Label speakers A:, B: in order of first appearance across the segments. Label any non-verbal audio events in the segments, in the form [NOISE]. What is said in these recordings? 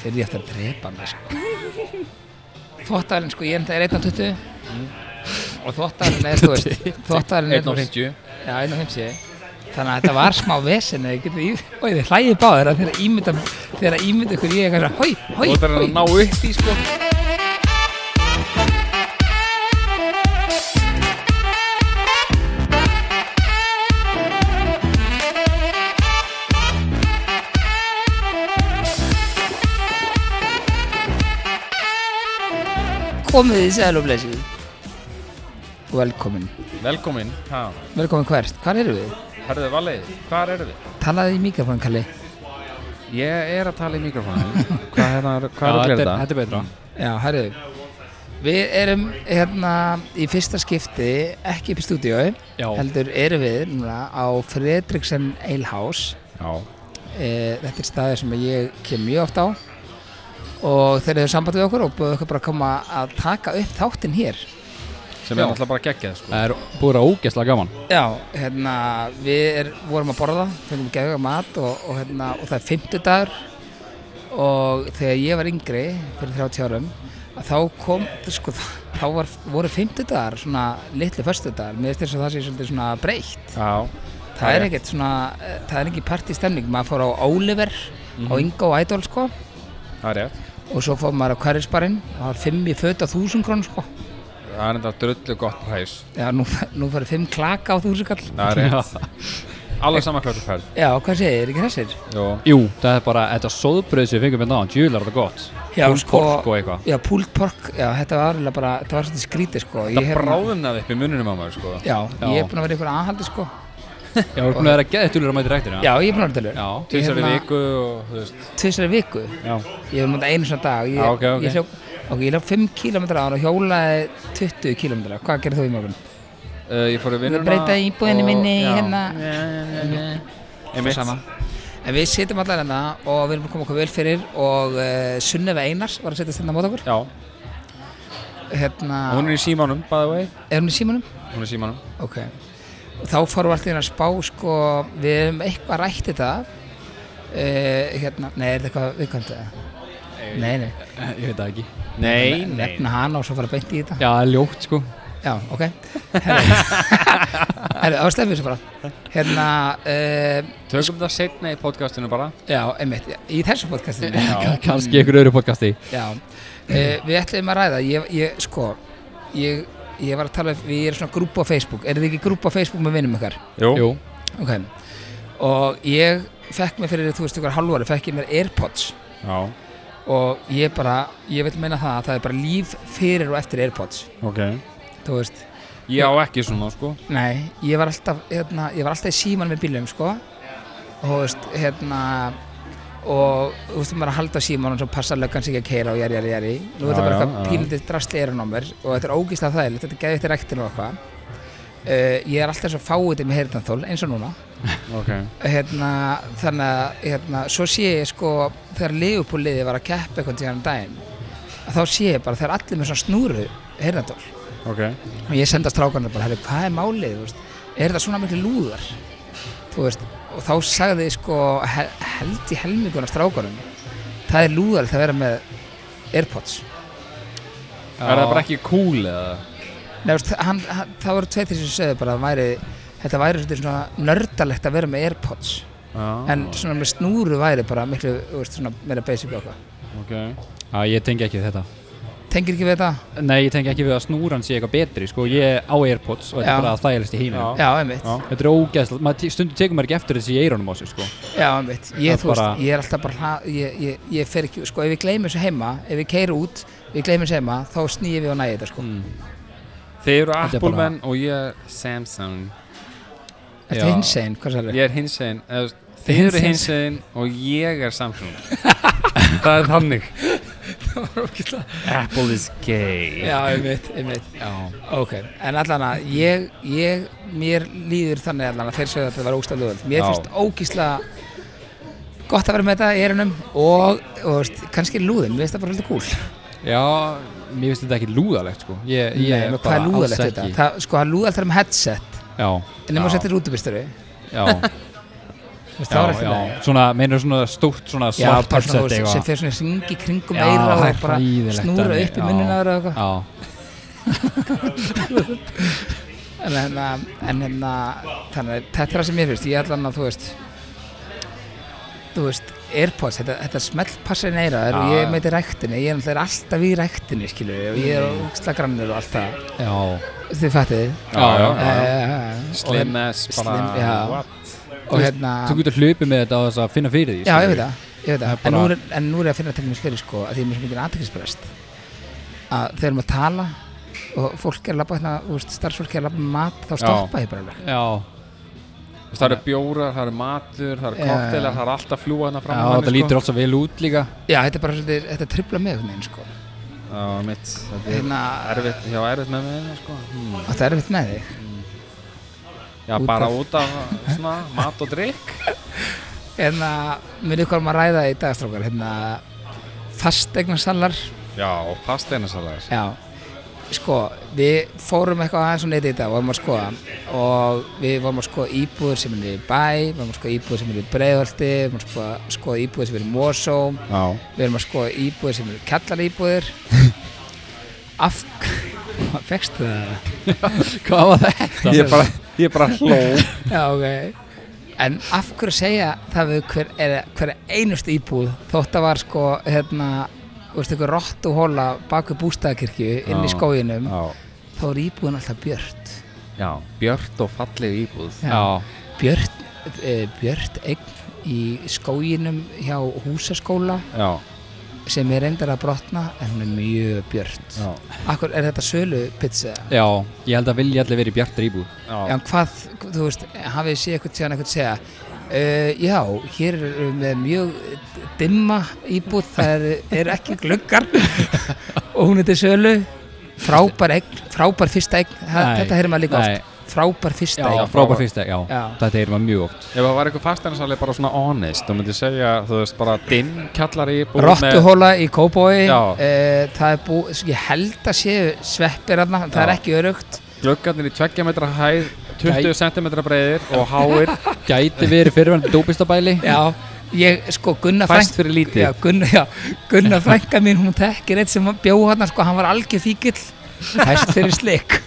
A: þeir eru eftir að drepa mig sko. þvóttalinn sko, ég er 1.20 og þvóttalinn er, þú veist þvóttalinn er, þú veist,
B: 1.50
A: já, 1.50 þannig að þetta var smá vesen og þið hlæðið báðir að þeirra ímynda þeirra ímynda ykkur ég eitthvað svona, hói,
B: Þú
A: hói,
B: ætlar að
A: hói
B: ná upp í sko
A: komið þið sæl og blessið Velkomin
B: Velkomin, ha,
A: Velkomin hvert, hvar eru við?
B: herðu valið, hvar eru þið?
A: Talaði í mikrofón Kalli
B: Ég er að tala í mikrofónum Hvað er það,
C: Já,
B: hvað er
C: þetta Mm,
B: það?
C: þetta er betra
A: Mm. Já, herriðu Við erum hérna í fyrsta skipti ekki upp í stúdíói
C: Já.
A: heldur erum við núna á Fredriksen Eilhaus
B: Já,
A: e, Þetta er staðið sem ég kem mjög oft á og þeir eru samband við okkur og búið okkur bara að koma að taka upp þáttinn hér
B: sem er
C: Já.
B: náttúrulega bara geggjað sko
C: Það er búið að ógeðslega gaman
A: Já, hérna, við er, vorum að borða, fengum geðvega mat og, og, hérna, og það er fimmtudagur og þegar ég var yngri fyrir 30 árum að þá kom, sko, þá var, voru fimmtudagar svona litli föstudagar mér finnst þess að það sé svolítið svona breytt
B: Já,
A: það er ekkert svona, eh, það er ekki partístemning maður fór á Oliver, á
B: Mhm.
A: Ingo og Idol sko
B: það er rétt
A: og svo fór maður á Hverjisbarinn og það var fimm í föt á þúsund krónu sko
B: Það er enda drullu gott præs
A: Já, nú, fer- nú fyrir fimm klaka á þúsund kall
C: [LAUGHS]
B: Það er rétt Alla sama hvað þú færð
A: Já, hvað segir, er ekki þessir?
B: Jó,
C: Jú, það er bara, þetta sóðbröð sem við fengum hérna á, djúlar er þetta gott
A: Já,
C: Pulled
A: sko-
C: pork og eitthvað
A: Já, pulled pork, já, þetta var alveg bara, þetta var svolítið skrítið, sko.
B: það bráðum það upp í mununum á maður sko
A: Já,
C: Já.
A: ég er búinn að vera ykkur aðhaldi, sko.
C: Já, við erum búin að vera að geða djúlar á mæti ræktinu
A: Já, ég er búinn að vera tölur.
C: Já,
B: Tvísar í
A: hérna-
B: viku og þú veist
A: Tvisar í viku,
B: Já,
A: ég var mútið einu svona dag. Ég,
B: Já, ok, ok.
A: Ég hljóf, ok, ég hljóf 5 km ára og hjólaði 20 km. Hvað gerði þú í morgun?
B: uh, ég fór í vinnuna
A: Við breytaði íbúðinni
B: og-
A: minni í
B: já.
A: hérna-
B: Einmitt.
A: Það sama. En við sitjum allar hérna og við erum búin að koma okkur vel fyrir og uh, Sunneva Einars var að setja stendna mót okkur.
B: Já,
A: Hérna,
B: hún er í símanum, by the way
A: er hún í símanum?
B: Hún er í símanum
A: Ok. Og þá fórum við alltaf inn að spá, sko, við erum eitthvað rætt þetta. Uh, hérna, nei, er þetta eitthvað viðkvæmt eða? Nei, nei,
C: Ég veit það ekki
B: Nei,
A: ne- nefna hana og svo fara beint í þetta.
C: Já, það er ljótt sko
A: Já, ok. [LAUGHS] Herri, Herri, þá slefum við þessu bara. Hérna, uh,
B: Tökum það setna í podcastinu bara
A: já, einmitt, í þessu podcastinu.
B: Já.
C: Kanski ykkur öðru podcasti
A: Já, uh, við ætlum að ræða, ég, ég sko, ég, ég var að tala, við erum svona grúpa á Facebook, er þið ekki grúpa á Facebook með vinnum ykkar?
C: Jú
A: Ok, og ég fekk mér fyrir, þú veist, ykkur halvóri, fekk ég mér Airpods
B: Já,
A: og ég bara, ég vil meina það að það er bara líf fyrir og eftir Airpods,
B: ok
A: þú veist.
B: Ég á ekki svona, sko
A: Nei, ég var alltaf, hérna, ég var alltaf í síman með bílum, sko, og þú veist, hérna, og þú veist, maður er að halda síman og svo passa löggan sig ekki að keira og jæri, jæri, jæri. Nú er
B: Já,
A: þetta bara
B: já,
A: eitthvað
B: já.
A: pílitið drastli eranómer og þetta er ógíslega þægilegt, þetta er geðið til rektinu og eitthvað. Uh, ég er alltaf svo fáið með heyrðanþól, eins og núna.
B: Ok
A: hérna, þannig að hérna, svo sé ég sko þegar Liverpool liðið var að keppa eitthvað tíðan um daginn að þá sé ég bara þegar allir með svona snúru heyrnatól
B: Ok
A: og ég senda strákarna bara, herri, hvað er málið, þú veist er þetta svona miklu lúðar þú veist, og þá sagði sko hel, held í helminguna strákarnum það er lúðar það vera með Airpods
B: Er það bara ekki cool eða?
A: Nei, þú veist, hann, hann, það voru tveit því sem sögðu bara að væri, þetta væri svolítið svona nördalegt að vera með Airpods
B: Já,
A: en svona með snúru væri bara miklu, þú veist, svona meira basic og eitthvað
B: ok
C: Já, ég tengi ekki við þetta
A: Tengir ekki við þetta?
C: Nei, ég tengi ekki við að snúran sé eitthvað betri Sko, ég á Airpods og
A: Já.
C: þetta er bara þægilegst í
B: Já.
C: heiminn
A: Já, einmitt.
B: Já.
C: Þetta er ógeðslega, maður te- stundum tekur maður ekki eftir þessi í eirónum á sér sko
A: Já, einmitt. Ég,
C: Það
A: þú veist,
C: bara-
A: ég er alltaf bara, hla- ég, ég, ég fer ekki, sko, ef við gleymum þessu heima, ef við keirum út, við gleymum þessu heima, þá snýjum við og næði þetta, sko.
C: Mm.
B: Þið eru
C: Þetta er bara-
B: Apple menn og ég er Samsung
A: Er
C: Já.
A: þetta hinsegin, hvað særðu?
B: Ég er hinsegin eða, þú veist, Þið eru
A: Hinsegin.
B: hinsegin og ég er Samsung [LAUGHS] Það er þannig Apple is gay
A: Já, einmitt, einmitt.
C: Já
A: Ok, en allan að ég, ég, mér líður þannig allan að þeir sögðu að þetta var ógíslega lögvöld. Mér
B: Já.
A: finnst ógíslega gott að vera með þetta í erunum og, og veist, kannski lúðum, mér finnst það bara hluti kúl.
C: Já, mér finnst þetta ekki lúðalegt sko ég, ég
A: Nei, menn, hvað er
C: bara
A: lúðalegt
C: alls
A: þetta?
C: ekki-
A: Það, sko, það er lúðalegt að vera með headset,
C: Já,
A: en ég má
B: Já.
A: [LAUGHS] setja rútubistöru.
C: já
A: Þú veist, það var ekki
C: já,
A: leið.
C: svona, meinur svona stórt svona
A: Já,
C: svart
A: bara svona, þú
C: headset
A: veist, sem
C: eitthvað
A: fyrir svona ringi kringum
C: Já,
A: eira
C: það
A: og
C: er
A: bara
C: hræðilegt
A: snúra
C: dæmi,
A: upp í
C: já.
A: munnina eða eitthvað.
C: Já,
A: En hérna, en hérna, þannig að þetta er það sem ég finnst, ég ætla að þú veist, þú veist, Airpods, þetta, þetta smellpassa inn eira og
C: Já,
A: ég
C: já.
A: meiti ræktinni, ég er náttúrulega alltaf í ræktinni, skilur og ég er ógstlega grannur og allt það,
C: já,
A: þið Eh, fættið.
C: Mm. Já, já.
B: Slim S bara
A: Slim, já.
B: what?
A: Og hérna,
C: þú getur hlupið með þetta á þess að finna fyrir því
A: já, ég
C: skilur.
A: veit það, ég veit það,
C: Það er
A: en nú
C: bara-
A: er, en nú er ég að finna til dæmis fyrir, sko, að því ég er mjög mikið aðtækisbrest, að þegar við erum að tala og fólk er að labba hérna, þú veist, starfsfólk er að labba með mat, þá stoppa ég bara alveg.
C: Já,
B: Þú veist, Það eru bjórar, það eru matur, það
A: Já.
B: eru koktelar, það eru allt að fljúa hérna fram
C: já
A: sko.
C: þetta lítur alls að vel út líka
A: Já, þetta er bara svolítið, þetta tripla mig einhvern veginn, sko.
B: Já, mitt, þetta er
A: Hérna,
B: erfitt, já, erfitt með mig hérna, sko hmm.
A: þetta er erfitt með þig.
B: Já,
A: Út
B: bara
A: af-
B: út af, svona, mat og drikk
A: Hérna, mér er hvað um að ræða í dagastrákar, hérna, fastegnasalar,
B: Já, og pasteinasalaðis
A: já, sko, við fórum eitthvað aðeins og neitt í þetta, vorum að skoða og við vorum að skoða íbúður sem er í bæ, vorum að skoða íbúður sem er í breiðholti, vorum að skoða, skoða íbúður sem er í Mosó,
B: Já
A: við erum að skoða íbúður sem eru kjallar
B: [LAUGHS]
A: íbúður. Af, [LAUGHS] fegstu það?
C: Hvað var þetta?
B: Ég er bara, ég er bara hló
A: Já, ok. En af hverju segja það við hver, er, hver einustu íbúð þótt að var sko, hérna, þú veist, ykkur rottu hóla baku bústæðakirkju inn í
B: Já.
A: skóginum,
B: Já,
A: þá er íbúðin alltaf björt.
B: já björt og falleg íbúð
A: Já.
C: Já,
A: Björt, e, björt eign í skóginum hjá húsaskóla
B: Já,
A: sem er reyndar að brotna en hún er mjög björt.
B: já,
A: Akkur er þetta sölu pizza?
C: já, ég held að vilja allir verið bjartri íbúð
A: Já, en hvað, þú veist, hafið þið séð eitthvað síðan eitthvað segja uh, Já, hér eru með mjög dimma íbúð, það eru er ekki
C: [LAUGHS]
A: gluggar og hún er til sölu frábær eign, frábær fyrsta eign það-
C: Nei,
A: þetta heyrir maður líka
C: nei.
A: oft frábær fyrsta
C: Já,
A: eign
C: frábær fyrsta, já,
A: Já.
C: þetta er maður mjög oft
B: Ef það var eitthvað fasteinasali bara svona honest Þú myndir segja, þú veist, bara dimm kjallar íbúð
A: Rottuhóla í Kóbói
B: Já.
A: uh, það er búið, ég held að séu sveppir aðna, það er
B: Já.
A: ekki örugt
B: Gluggarnir í 20 metra hæð 20 cm breiðir og
C: [LAUGHS]
B: háir
C: Gæti verið fyrirvændi dópistabæli
A: Já, ég, sko, Gunnar
B: Fæst
A: frænk-
B: fyrir lítið.
A: Já, Gunnar, já, Gunnar frænka mín, hún þekkir eitt sem bjó hann, sko, hann var algjör fíkil Fæst fyrir slik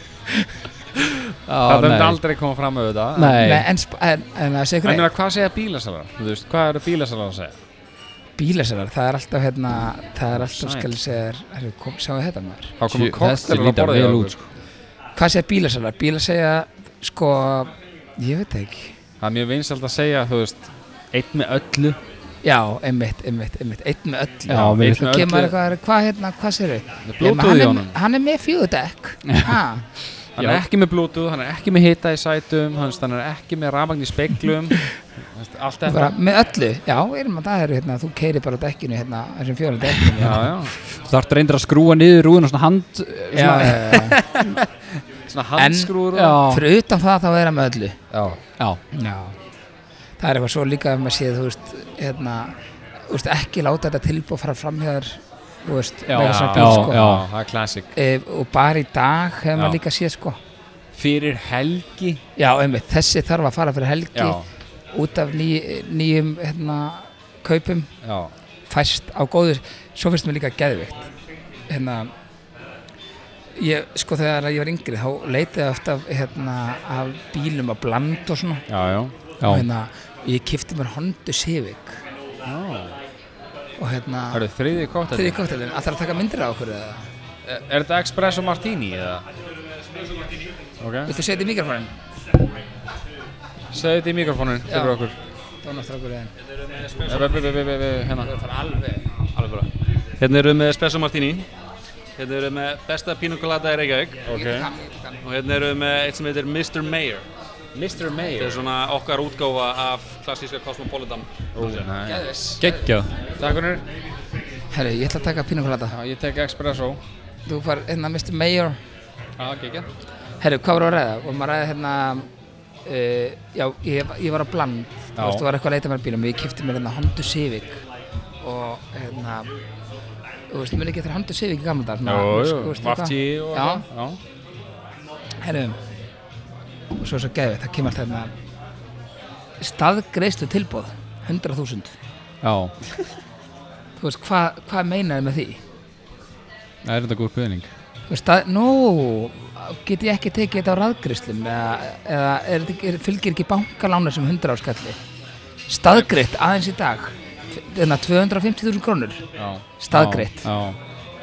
B: Það
C: Það
B: myndi aldrei koma fram með þetta
C: Nei,
A: Nei, en, sp- en, en að segja
B: En ég
A: hvernig
B: meina, hvað segja bílasalar? Þú veist, hvað eru bílasalar að segja?
A: Bílasarar, það er alltaf, hérna, það er alltaf,
B: Sæl.
A: skal ég segja þér Herru, kom, sjáu þetta maður
B: Þá komum
C: Tjú, þessi
B: koktelar að
C: lítar
B: borða hjá
C: vel út, sko.
B: okkur
A: Hvað segja bílasarar? Bílar segja, sko, ég veit það ekki
B: Það er mjög vinsælt að segja, þú veist Eitt með öllu
A: Já, einmitt, einmitt, einmitt, einn með öllu
C: Já, mér
B: eitt
A: Svo
B: með
A: kemur maður
B: öllu
A: eitthvað, hvað hérna, hvað segir
B: Með Bluetooth í
A: hann,
B: honum.
A: er- hann er með fjögudekk Ha,
B: Hann er ekki með bluetooth, hann er ekki með hita í sætum Hann hann er ekki með rafmagn í
C: [LAUGHS]
B: speglum Þú veist, Allt þetta
A: bara með öllu Já, erum að það eru, hérna, þú keiri bara á dekkinu, hérna, þessum fjóra dekkinu
B: [LAUGHS] Já, já
C: þú þarf reyndir að skrúa niður rúðuna svona hand eh,
A: Já, já, já.
B: Svona handskrúður og-
C: Já,
A: fyrir utan það þá er hann með öllu
B: Já
C: já,
A: Já. það er eitthvað svo líka ef maður séð, þú veist, hérna, þú veist ekki láta þetta tilbúið fara fram hjá þér þú veist,
C: Já,
A: með þessar
C: já,
A: bíl sko.
C: já.
B: það er klassik
A: e, og bara í dag hefur
B: Já.
A: maður líka séð sko
B: Fyrir helgi
A: já, einmitt, þessi þarf að fara fyrir helgi
B: Já,
A: út af ný, nýjum hérna, kaupum
B: já
A: fæst á góðu svo finnst mér líka geðvikt hérna ég, sko þegar ég var yngri þá leitaði ég oft af, hérna, af bílum að bland og svona
B: Já, já
A: og
C: já,
A: hérna, ég kipti mér Honda Civic og hérna
B: Það eru þriði koktelar
A: þriði koktelin, ætlar að taka myndir á okkur eða?
B: Er er þetta Espresso Martini eða? Ok,
A: Viltu setja í mikrofónin?
B: segðu þetta í mikrofónun fyrir
A: Já.
B: okkur
A: Dónastur okkur eðan
B: Við, við, við, við, við, hérna
A: Það fara alveg
D: Alveg bara. Hérna erum við með Espresso Martini, hérna erum við með besta Pino Colada í Reykjavík
B: Ok
D: og hérna erum við með eitt sem heitir Mr. Mayor.
B: Mr.
D: Þetta
B: Mayor
D: er svona okkar útgáfa af klassíska Cosmopolitan.
B: Takk
C: geggjað
B: húnir
A: Herru, ég ætla að taka pínukolata
B: Já, ég tek Espresso
A: Þú far hérna Mr. Mayor
D: Já, gekkja.
A: Herru, hvað var að ræða? Vorum að ræða hérna uh, Já, ég, ég var á bland Þú
B: Já.
A: veist, þú var eitthvað að leita mér að bílum Ég kipti mér hérna Honda Civic Og hérna Þú veist, muni ekki eftir Honda Civic í gamla dag
B: Vafti og
A: Já,
B: Já
A: herru Og svo er svo geðið, það kemur alltaf hérna staðgreislu tilbóð 100.000
C: Já,
A: þú veist, hvað hva meinaði með því?
C: það er þetta góð spurning
A: Þú veist, að, nú, get ég ekki tekið þetta á raðgreislum eða, eða er, þetta ekki- er, fylgir ekki bankalána sem 100 áskalli staðgreitt aðeins í dag hérna, þannig að 250.000 krónur
C: Já.
A: staðgreitt
C: Já, já.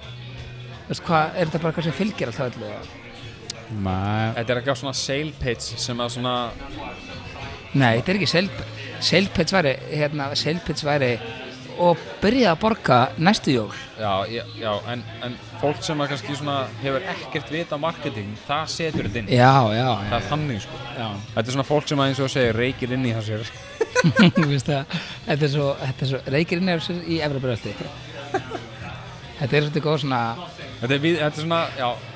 A: Þú veist, hvað, er þetta bara eitthvað sem fylgir alltaf öllu eða?
C: Nei,
B: Þetta er ekki á svona sale page sem að svona
A: Nei, þetta er ekki selp Selpits væri, hérna, selpits væri og byrja að borga næstu jól
B: Já, já, já en, en fólk sem að kannski svona hefur ekkert vita á marketing, það setur þetta inn
A: Já, já, [LAUGHS]
B: Það er þannig sko
A: já
B: Þetta er svona fólk sem að eins og þú segir reykir inn í það sér
A: Þú veist það, þetta er svo, þetta er svo reykirinn er sér í efra bröldi Þetta er svolítið góð svona
B: Þetta er, við, þetta er svona, já,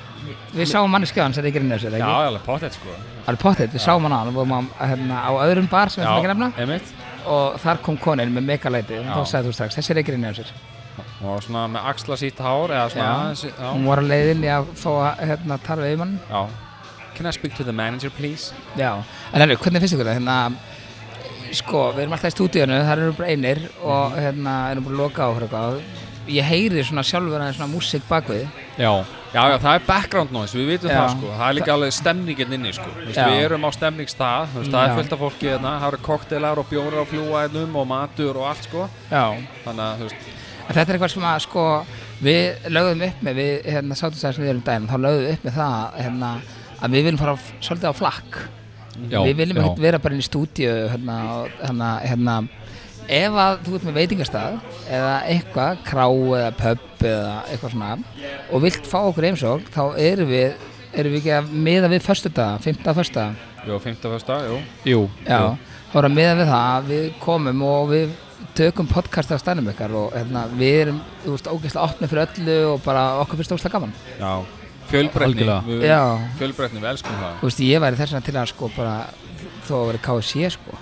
A: Við sáum manneskjáðan sem reykirinn er sér,
B: já,
A: ekki?
B: alveg pottet sko
A: Alveg pottet, við sáum hann á hann, við vorum á, hérna, á öðrum bar sem við ætlum ekki að nefna
B: einmitt
A: og þar kom konin með megalæti og
B: Já.
A: þá sagði þú strax, þessi reykirinn er sér
B: Og svona með axla sítt hár eða svona
A: Já. Mm.
B: aðeins-
A: Hún
B: já,
A: var á leiðinni að fá að hérna, tala við mann
B: já. Can I speak to the manager please?
A: Já, en hérna, hvernig finnst ykkur það? Hérna, sko, við erum alltaf í stúdíunum, þar erum við bara einir og
B: Mhm.
A: hérna, erum bara að loka á okkur eitthvað. Ég heyri svona sjálfur aðeins svona músík bakvið.
C: já,
B: Já, já, það er background noise, við vitum
A: Já.
B: það sko Það er líka alveg stemningin inni sko Þú veist,
A: Já.
B: Við erum á stemningstað, þú veist,
A: Já.
B: það er fullt af fólki þarna Það eru koktelar og bjórar á fljúaðinum um og matur og allt sko
A: Já.
B: Þannig að, þú veist,
A: En þetta er eitthvað sem að, sko, við lögðum upp með, við, hérna, sátum sæðis við erum daginn, þá lögðum við upp með það, hérna, að við viljum fara á- svolítið á flakk.
C: já
A: við viljum
C: já.
A: ekkert vera bara inn í stúdíu, hérna, og- hérna, hérna, ef að þú ert með veitingastað eða eitthvað, krá eða pub eða eitthvað svona og vilt fá okkur heimsókn, þá erum við erum við ekki að miða við föstudaga, 15. föstudaga
B: jú, 50. dag, jú
C: Jú,
A: Já, þá erum við að miða við það að við komum og við tökum podcast af stænum ykkar og hérna, við erum, þú veist, ógeðslega opnið fyrir öllu og bara okkur finnst ógeðslega gaman
B: Já, fjölbreytni
C: Algjörlega.
B: við-
A: Já.
B: Fjölbreytni, við elskum það
A: Þú veist, ég væri þess vegna til að sko bara þó að vera KSC sko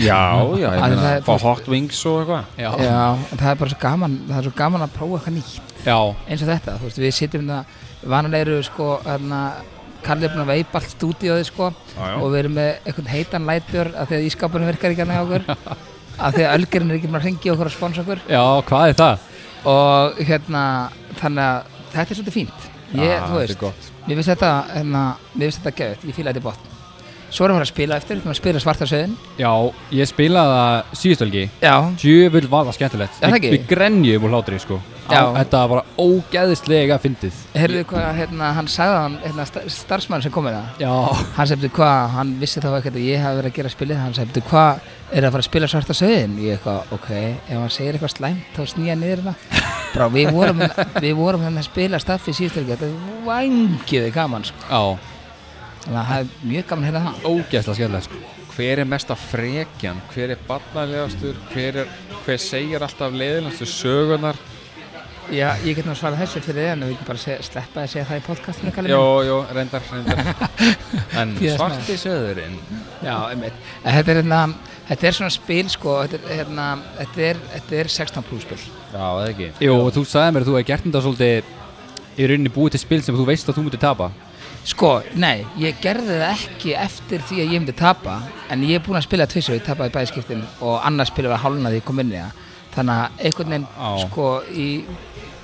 B: Já, já,
A: ég meina, fá
B: hot wings og eitthvað
C: já, já,
A: Já, en það er bara svo gaman, það er svo gaman að prófa eitthvað nýtt
C: já,
A: eins og þetta, þú veist, við sitjum þetta vanalega eru sko hérna, Karli er búin að veipa allt stúdíóði sko
B: Já, já.
A: og við erum með einhvern heitan lætbjör að því að ískapunum virkar ekki hann hjá okkur
B: [LAUGHS]
A: að því að ölgerinn er ekki búin að ringi okkur og sponsa okkur
C: hvað er það?
A: og hérna, þannig að þetta er svolítið fínt ég,
B: Já,
A: þú
B: Ah, þetta er
A: veist,
B: gott.
A: mér finnst þetta hérna, mér finnst þetta gefið, ég fíla þetta í botn svo erum við að fara að spila eftir, við erum að spila svartarsöðin
C: Já, ég spilaði það síðustölgi
A: já,
C: Djöfull var það skemmtilegt
A: Er það
C: Við-
A: ekki?
C: Við grenjum úr hlátri sko
A: Já.
C: Á- Þetta var ógæðislega fyndið
A: heyrðu hvað hérna, hann sagði hann, hérna, star- starfsmann sem kom með það
C: Já
A: hann sagði "Bíddu, hvað, hann vissi þá ekkert að ég hafi verið að gera spilið hann sagði "Bíddu, hvað, er það að fara að spila svarta söðin ég eitthvað, ok, ef hann segir eitthvað slæmt þá snýja niður hérna Brá, við vorum, við vorum hérna að spila staffi síðustu helgi, þetta er vangiði gaman sko.
C: Já,
A: þannig að það er mjög gaman að hérna það
C: ógæðislega skemmtilegt sko
B: Hver er mesta frekjan? Hver er barnalegastur? Hver, er, hver segir alltaf leiðilegastu sögunar?
A: Já, ég get nú svarað þessu fyrir þig en við getum bara að segja- sleppa að segja það í podcastinu Kalli minn.
B: Jó, jó, reyndar, [LAUGHS] reyndar En
A: Yes,
B: svarti söðurinn
A: Já, einmitt En þetta er, hérna, þetta er svona spil sko, þetta er, hérna, þetta er, þetta er 16 plus spil
B: Já, það ekki
C: Jú, og þú sagði mér að þú hefði gert þetta svolítið í rauninni búið til spil sem þú veist að þú mútið tapa
A: Sko, nei, ég gerði það ekki eftir því að ég myndi tapa en ég er búinn að spila tvissu, ég tapaði bæðskiptin og annars spila var hálfnað því ég kom inn í það þannig að einhvern veginn,
C: Á.
A: sko, í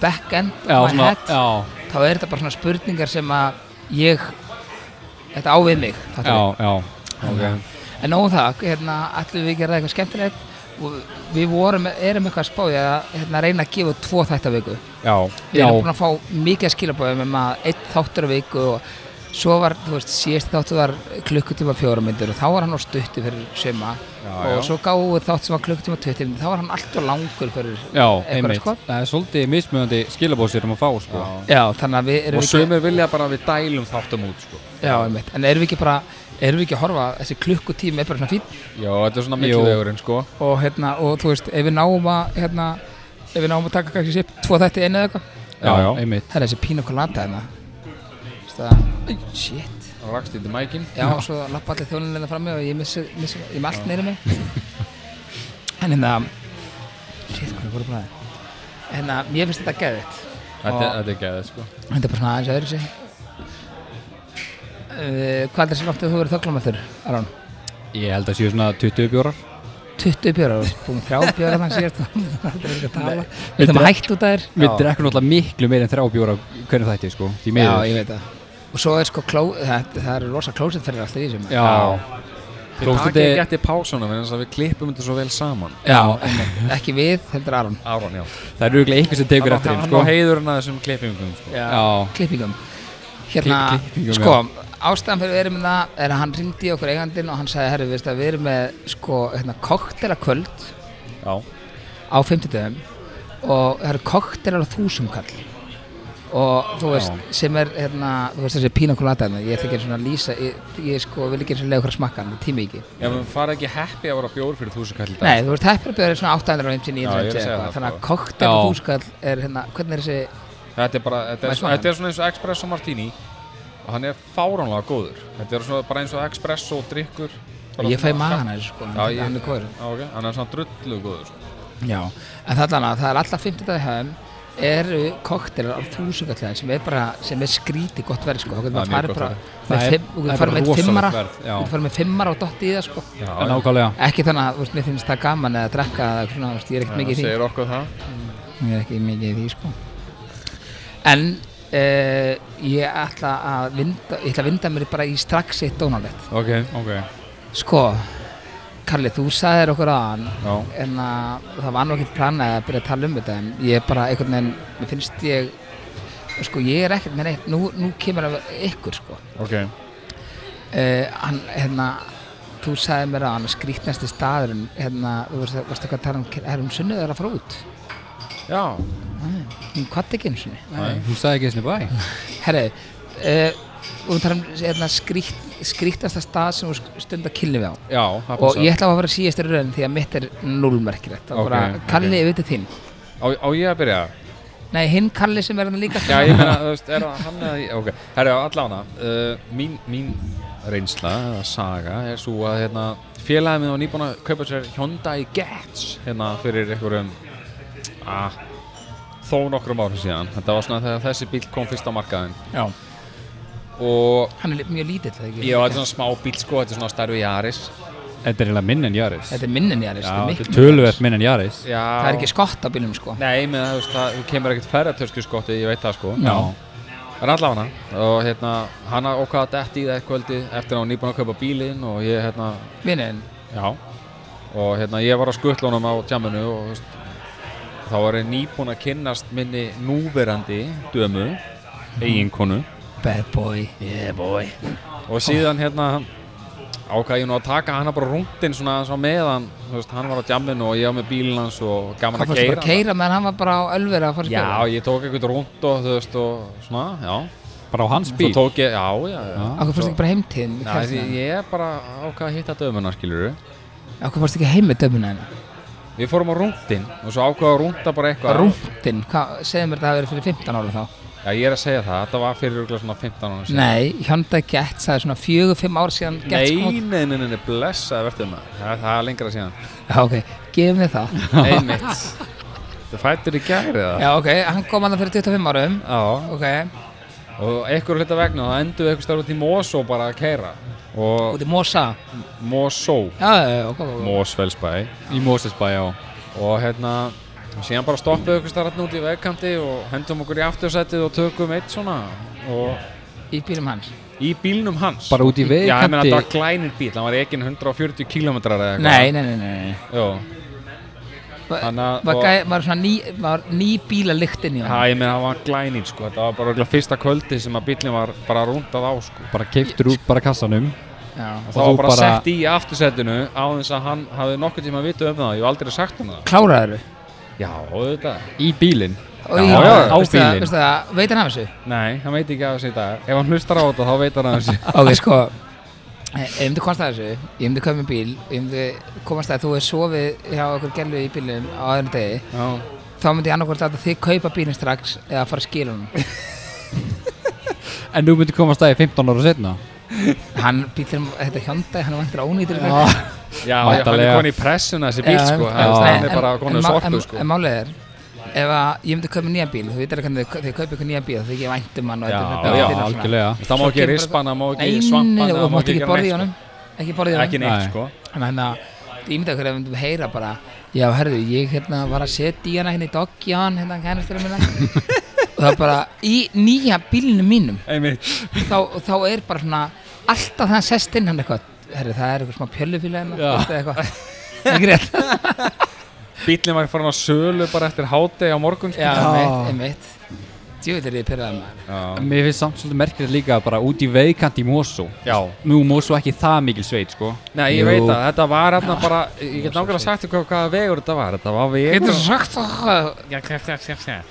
A: back-end,
C: Já,
A: my
C: svona,
A: head,
C: já,
A: þá er þetta bara svona spurningar sem að ég þetta á við mig fattar
C: já,
A: við?
C: já
A: okay. en nóg um það, hérna, allir við gerða eitthvað skemmtilegt og við vorum, erum eitthvað að spáði að hérna, reyna að gefa út tvo þetta viku
B: Já,
A: við
C: Já.
A: erum búin að fá mikið skilabóðum um að einn þáttur á viku og svo var, þú veist, síðast þáttur var klukkutíma fjóramyndir og þá var hann á stuttu fyrir suma
B: Já,
A: og
B: já.
A: svo gáðu við þátt sem var klukkutíma tuttum þá var hann allt og langur fyrir
C: Já,
A: Eitthvað,
C: einmitt
A: sko?
C: Það er svolítið mismunandi skilabóðsir um að fá sko
A: já, þannig að við
B: Og
A: erum
B: sumir vilja bara að við dælum þáttum út sko.
A: ekki já, einmitt, en erum við ekki bara erum við ekki að horfa, að þessi klukkutíma er bara svona fín
B: Já, þetta er svona millivegurinn sko.
A: og hérna, og þú veist, ef við náum að hérna, ef við náum að taka kannski sér tvo þætti einu eða eitthvað,
C: Já,
B: Já, já.
C: einmitt
A: það er þessi pína kolata hérna Þú veist það, shit
B: Rakst í mækin
A: Já, og svo lappa allir þjónulegna frammi og ég missi, missi ég með allt neyri mig [LAUGHS] En hérna Shit, hvernig voru búin að það Hérna, mér finnst þetta geðvitt
B: Þetta er- þetta er geðið sko.
A: Þetta er bara svona aðeins öðru sig uh, Hvað er þessi langt að þú verið þöglum eftir, Aron?
C: Ég held að séu svona 20 bjórar
A: 20 bjórar, við erum búin með þrjá bjórar þannig [LAUGHS] síðast það er ekki að tala við erum hægt út af þér
C: Við
B: Já.
C: drekkum náttúrulega miklu meir en þrjá bjórar hvernig þætti sko, því
A: já,
C: meður
A: ég veit það og svo er sko kló, það, það eru rosa klósett fyrir alltaf í þessum
C: Já,
B: Við
C: Klósettið-
B: takið ekki eftir pásuna vegna þess að við klippum þetta svo vel saman
A: já ekki við, heldur Aron
B: Áron, já
C: það eru auðvitað einhver sem tekur
B: Hann á-
C: eftir þeim
B: hann
C: sko
B: á heiðurinn að þessum klippingum sko.
C: Já,
A: klippingum hérna,
C: Kli- klippingum,
A: sko, ástæðan fyrir við erum með það er að hann ringdi okkur eigandinn og hann sagði, herru, veist að við erum með sko, hérna, koktela kvöld
B: Já.
A: á 50 dögum og það eru koktela á þúsumkall og þú veist, sem er hérna, þú veist þessi pína kolata ég ætla ekki einu sinni að lýsa, ég, ég sko vil ekki eins og lega okkur smakka hann, tími ekki
B: Já, við fara ekki happy ára bjór fyrir þúsund kall í dag
A: Nei, þú veist, heppir að bjóða svona 850
B: Já,
A: 900
B: ég er að segja
A: eitthvað,
B: það,
A: þannig að
B: sko.
A: koktela
C: Já.
A: þúsumkall er hérna, hvernig er þessi
B: Þetta er bara, þetta er,
A: Maður smakar
B: þetta er svona eins og espresso martini og hann er fáránlega góður Þetta er svona bara eins og espresso og drikkur bara
A: ég fæ
B: svona-
A: magan að þessu sko,
B: Já, ég-
A: hann er kóður
B: Já, ok, hann er svona drullu góður sko.
A: Já, en það er allan að það er alltaf 50 dag hefðum eru koktelar á þúsugallið sem er bara, sem er skríti gott verð sko, þá getur
B: Það er
A: maður
B: mjög
A: farið
B: gott
A: bara
B: verð.
A: með
C: Það er-
A: fimm, og
C: það
A: getur
C: er
A: farið með
C: rosalegt
A: fimmara
C: verð,
A: þú
C: já.
A: getur farið með fimmara og dotti í það sko
B: Já,
C: nákvæmlega
A: ekki þannig að, þú veist, mér finnst það gaman eða drekka eða svona, þú veist, ég er ekkert mikið í því
B: segir okkur það
A: ég er ekki mikið í því sko en uh, ég ætla að vinda, ég ætla að vinda mér bara í strax eitt dónalett
B: Ok, ok
A: sko, Karli, þú sagðir okkur aðan
B: Já,
A: en að það var nú ekkert planað að byrja að tala um þetta en ég er bara einhvern veginn, mér finnst ég sko ég er ekkert með neitt, nú, nú kemur af ykkur sko
B: ok
A: uh, hann, hérna þú sagði mér að hann skrýtnasti staðurinn hérna, þú varst, varst eitthvað að tala um er hún sunnið að fara út?
B: Já,
A: Nei, hún kvatti ekki einu sinni
C: Nei, Hún sagði ekki þessinni bæ
A: herri, uh, þú tala um hérna, skrýt, skrýtnasta stað sem þú stund að kynni við á
B: já, það
A: og
B: passa.
A: ég ætla að fara síðast í raunin því að mitt er nullmerkilegt og
B: Ok,
A: bara,
B: ok.
A: Kalli, okay. við til þín
B: Á, á ég að byrja?
A: nei, hinn Kalli sem er hann líka
B: Já, ég meina, þú veist, er það hann eða ég? Ok, herra, allána, uh, mín, mín reynsla, eða saga, er svo að hérna, félagið minn var nýbúin að kaupa sér Hyundai Getz hérna fyrir einhverjum, að, þó nokkrum árum síðan. Þetta var svona þegar þessi bíl kom fyrst á markaðinn.
A: Já.
B: Og,
A: Hann er li- mjög lítill, eða ekki?
B: já, þetta er svona smá bíl, sko, þetta er svona starfi Jaris.
C: Þetta er eiginlega minn en Jaris
A: Þetta er minnin í aðeins,
C: Já,
A: þetta er miklu.
C: þetta er töluvert minn en Jaris
B: Já.
A: Það er ekki skott á bílum, sko.
B: Nei, menn, þú veist, það, þú kemur ekkert ferðartösku skottið, ég veit það, sko.
C: Já,
B: En allavega og hérna, hann ákvaða að detti í það eitt kvöldi eftir að hún nýbúin að kaupa bílinn og ég hérna,
A: Vinnin,
B: já, og hérna ég var á skuttlunum á tjamminu og þú veist, þá var ég nýbúin að kynnast minni núverandi dömu, eiginkonu
A: bad boy.
B: og síðan hérna ákvaða ég nú að taka hana bara rúndin svona, svona meðan, þú veist, hann var á tjamminu og ég var með bílinn hans og gaman
A: Hann
B: að
A: fórst bara
B: keira
A: að keira meðan hann var bara á ölvera
C: sko,
A: að fara að
B: Já,
A: keira.
B: ég tók eitthvað rúnd og þú veist og svona, já,
C: bara á hans
B: svo
C: bíl
B: tók ég, já, já, já.
A: Akkur fórst ekki bara heimtíðin?
B: Nei, því ég er bara ákvað að hitta dömuna, skilur við.
A: Akkur fórst ekki heim með dömuna hennar?
B: Við fórum á rúndin og svo ákvað að rúnda bara eitthvað.
A: Rúntinn, hvað, segðu mér þetta að vera fyrir 15 ára þá?
B: Já, ég er að segja það. Þetta var fyrir örugglega svona 15 ára síðan.
A: Nei, Hyundai Gett, það er svona 4-5 ár síðan Gett kom út.
B: nei, nei, nei, nei, nei, blessaði verður maður. Það, það er lengra [LAUGHS] síðan.
A: Já, ok, gefum þið það.
B: Einmitt. Þetta fættur í gæri það.
A: Já, ok, hann kom hann fyrir 25 árum.
B: Já,
A: Ok,
B: og einhver hluta vegna þá endur við eitthvað starf út í Mosó bara að keira. Og
A: út í Mosa.
B: Mosó,
A: Já, já, já, ok, ok, ok.
B: Mosfellsbæ.
C: Í Mosesbæ, já
B: og hérna síðan bara stoppum við ykkur starfna út í vegkanti og hendum okkur í aftursætið og tökum eitt svona og
A: Í bílum hans.
B: í bílnum hans
C: Bara út í
B: Já, ég meina
C: vegkanti
B: þetta var glænir bíl, hann var ekki 140 km eða eitthvað
A: Nei, nei, nei, nei, nei.
B: Jó,
A: Var,
B: Þannig að-
A: var,
B: og-
A: gæ, var svona ný, var ný bílalikt inn í
B: Já,
A: hann
B: ég meina það var glænir sko, þetta var bara örugglega fyrsta kvöldi sem að bílinn var bara rúndað á sko
C: Bara keiftur út bara kassanum
A: Já.
B: og
C: Og
B: það var
C: þú
B: bara,
C: bara-
B: sett í aftursætinu á þess að hann hafði nokkuð tíma að vita um það, ég hef aldrei sagt um það
A: kláraður
B: Já, auðvitað
C: Í bílinn
A: og
C: Já,
A: í-
C: já, á
A: veistu það-
C: bílinn.
A: veistu það, veit hann af þessu
B: Nei, hann veit ekki af þessi í dag, ef hann hlustar á þetta þá veit hann af
A: [LAUGHS]
B: þessi
A: ok sko eh, ef þú komast að þessu ég myndi koma með bíl ég myndi komast að þú er sofið hjá okkur gælu í bílum á öðrum degi
B: Já,
A: þá myndi ég annarkvæmst að þið kaupa bílinn strax eða fara að skila hann
C: En þú myndir koma að staði 15 ára setna
A: hann bílinn þetta hjónda hann vantur ónýtur í dag.
B: Já, já, hann er
C: Væntanlega.
B: komin í pressuna þessi bíl
A: Já,
B: sko,
A: en-
B: hann
A: en-
B: hann er bara
A: en-
B: komin
A: en
B: í
A: má-
B: sorpu
A: en-
B: sko
A: en málið er ef að ég myndi kaupa nýjan bíl þú veit alveg hvernig þau- þau kaupa ykkur nýjan bíl þau ekki væntum um hann og
B: Já,
A: þetta er þetta
B: já,
A: er- þetta er-
C: algjörlega
B: Það
A: Svo
B: má ekki
A: kemur
B: rispana, má
A: Nei,
B: ekki sko.
A: nei,
B: svampana
A: og máttu ekki borða í honum ekki borðið
B: ekki neitt
C: Nei.
B: sko
A: Þannig hérna, ég myndi að hverja myndum heyra bara Já, herðu, ég hérna var að setja í hana hérna í doggi á hann, hérna kænastur minna
B: [LAUGHS]
A: og það er bara í nýja bílinu mínum
B: einmitt
A: þá, þá er bara svona alltaf þegar hann sest inn hann eitthvað Herðu, það er eitthvað smá pjöllufíla hérna
C: Já.
A: þetta er eitthvað Ekki rétt
B: bílinn var farin á sölu bara eftir hátegi á morgun
A: [LAUGHS]
B: sko.
A: Já, einmitt, einmitt Djúið er ég pyrraðið maður
B: já.
C: Mér finnst samt svolítið merkilegt líka bara út í veikant í Mosó
B: já.
C: Nú Mosó ekki það mikil sveit sko
B: Nei, ég
C: Jú.
B: veit að þetta var hérna bara, ég get nákvæmlega sagt ykkur hvaða vegur þetta var, þetta var vegur
A: Getur sagt það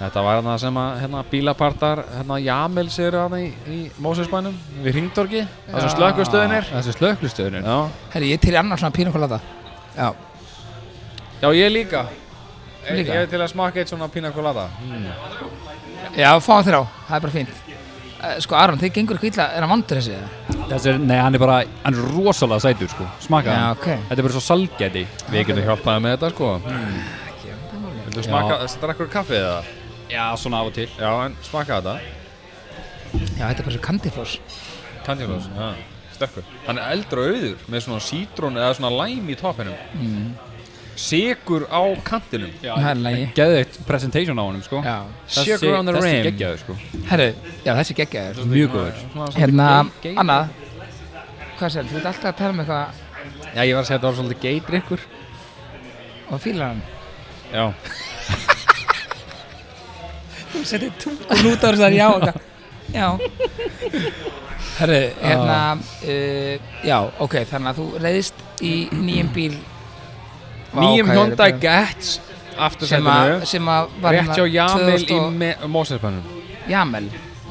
B: Þetta var hérna sem að hérna, bílapartar, hérna Jamils eru hérna í, í Mósinsbænum við Hringdorgi, það sem
A: Já.
B: slökkustöðin er
C: Þessi slöklustöðunir
B: Já,
A: Herðu, ég er til annar svona pínu kolata Já
B: já ég líka.
A: Líka?
B: Ég er til að smaka eitt svona pina colada
A: Já, fá þér á, það er bara fínt Eh, Sko, Aron, þið gengur ekki illa, er hann vandur þessi? eða?
C: Þessi er, nei hann er bara, hann er rosalega sætur sko Smaka
A: Já,
C: hann
A: ok
C: Þetta er bara svo salgæti
B: Við getum hjálpaði með þetta sko Viltu smaka, þetta er ekkur kaffið eða?
C: Já, svona af og til
B: Já, en smaka þetta
A: Já, þetta er bara svo kandifós
B: Tanjulós, já, stökkur Hann er eldur og auður með svona sítrón eða svona læm í topinum mm. Sigur á kantinum
A: Það er lægi
C: Geðveikt presentation á honum sko
A: Já,
C: Þessi,
B: Sugar on the
C: þessi
B: rim.
C: geggjaður sko
A: herru, já þessi geggjaður
C: Mjög góður
B: Svona svolítið
A: Hérna,
B: gay- gay-
A: annað Hvað sér, þú ert alltaf að tala um eitthvað
B: Já, ég var að segja þetta var svolítið geidrykkur
A: og fílar hann
B: Já
A: Þú setir tungun út á þess að já eitthvað. Já Herru,
C: Ah,
A: hérna uh, Já, ok, þannig að þú reyðist í nýjum bíl Vá,
B: Nýjum
A: hvað er
B: Hyundai
A: þetta?
B: Getz
A: sem að,
B: aftursætinu
A: sem að var
B: Rétt hjá
A: hérna
B: Jamil
A: 2000 og-
B: í Mósinsbænum
A: Jamel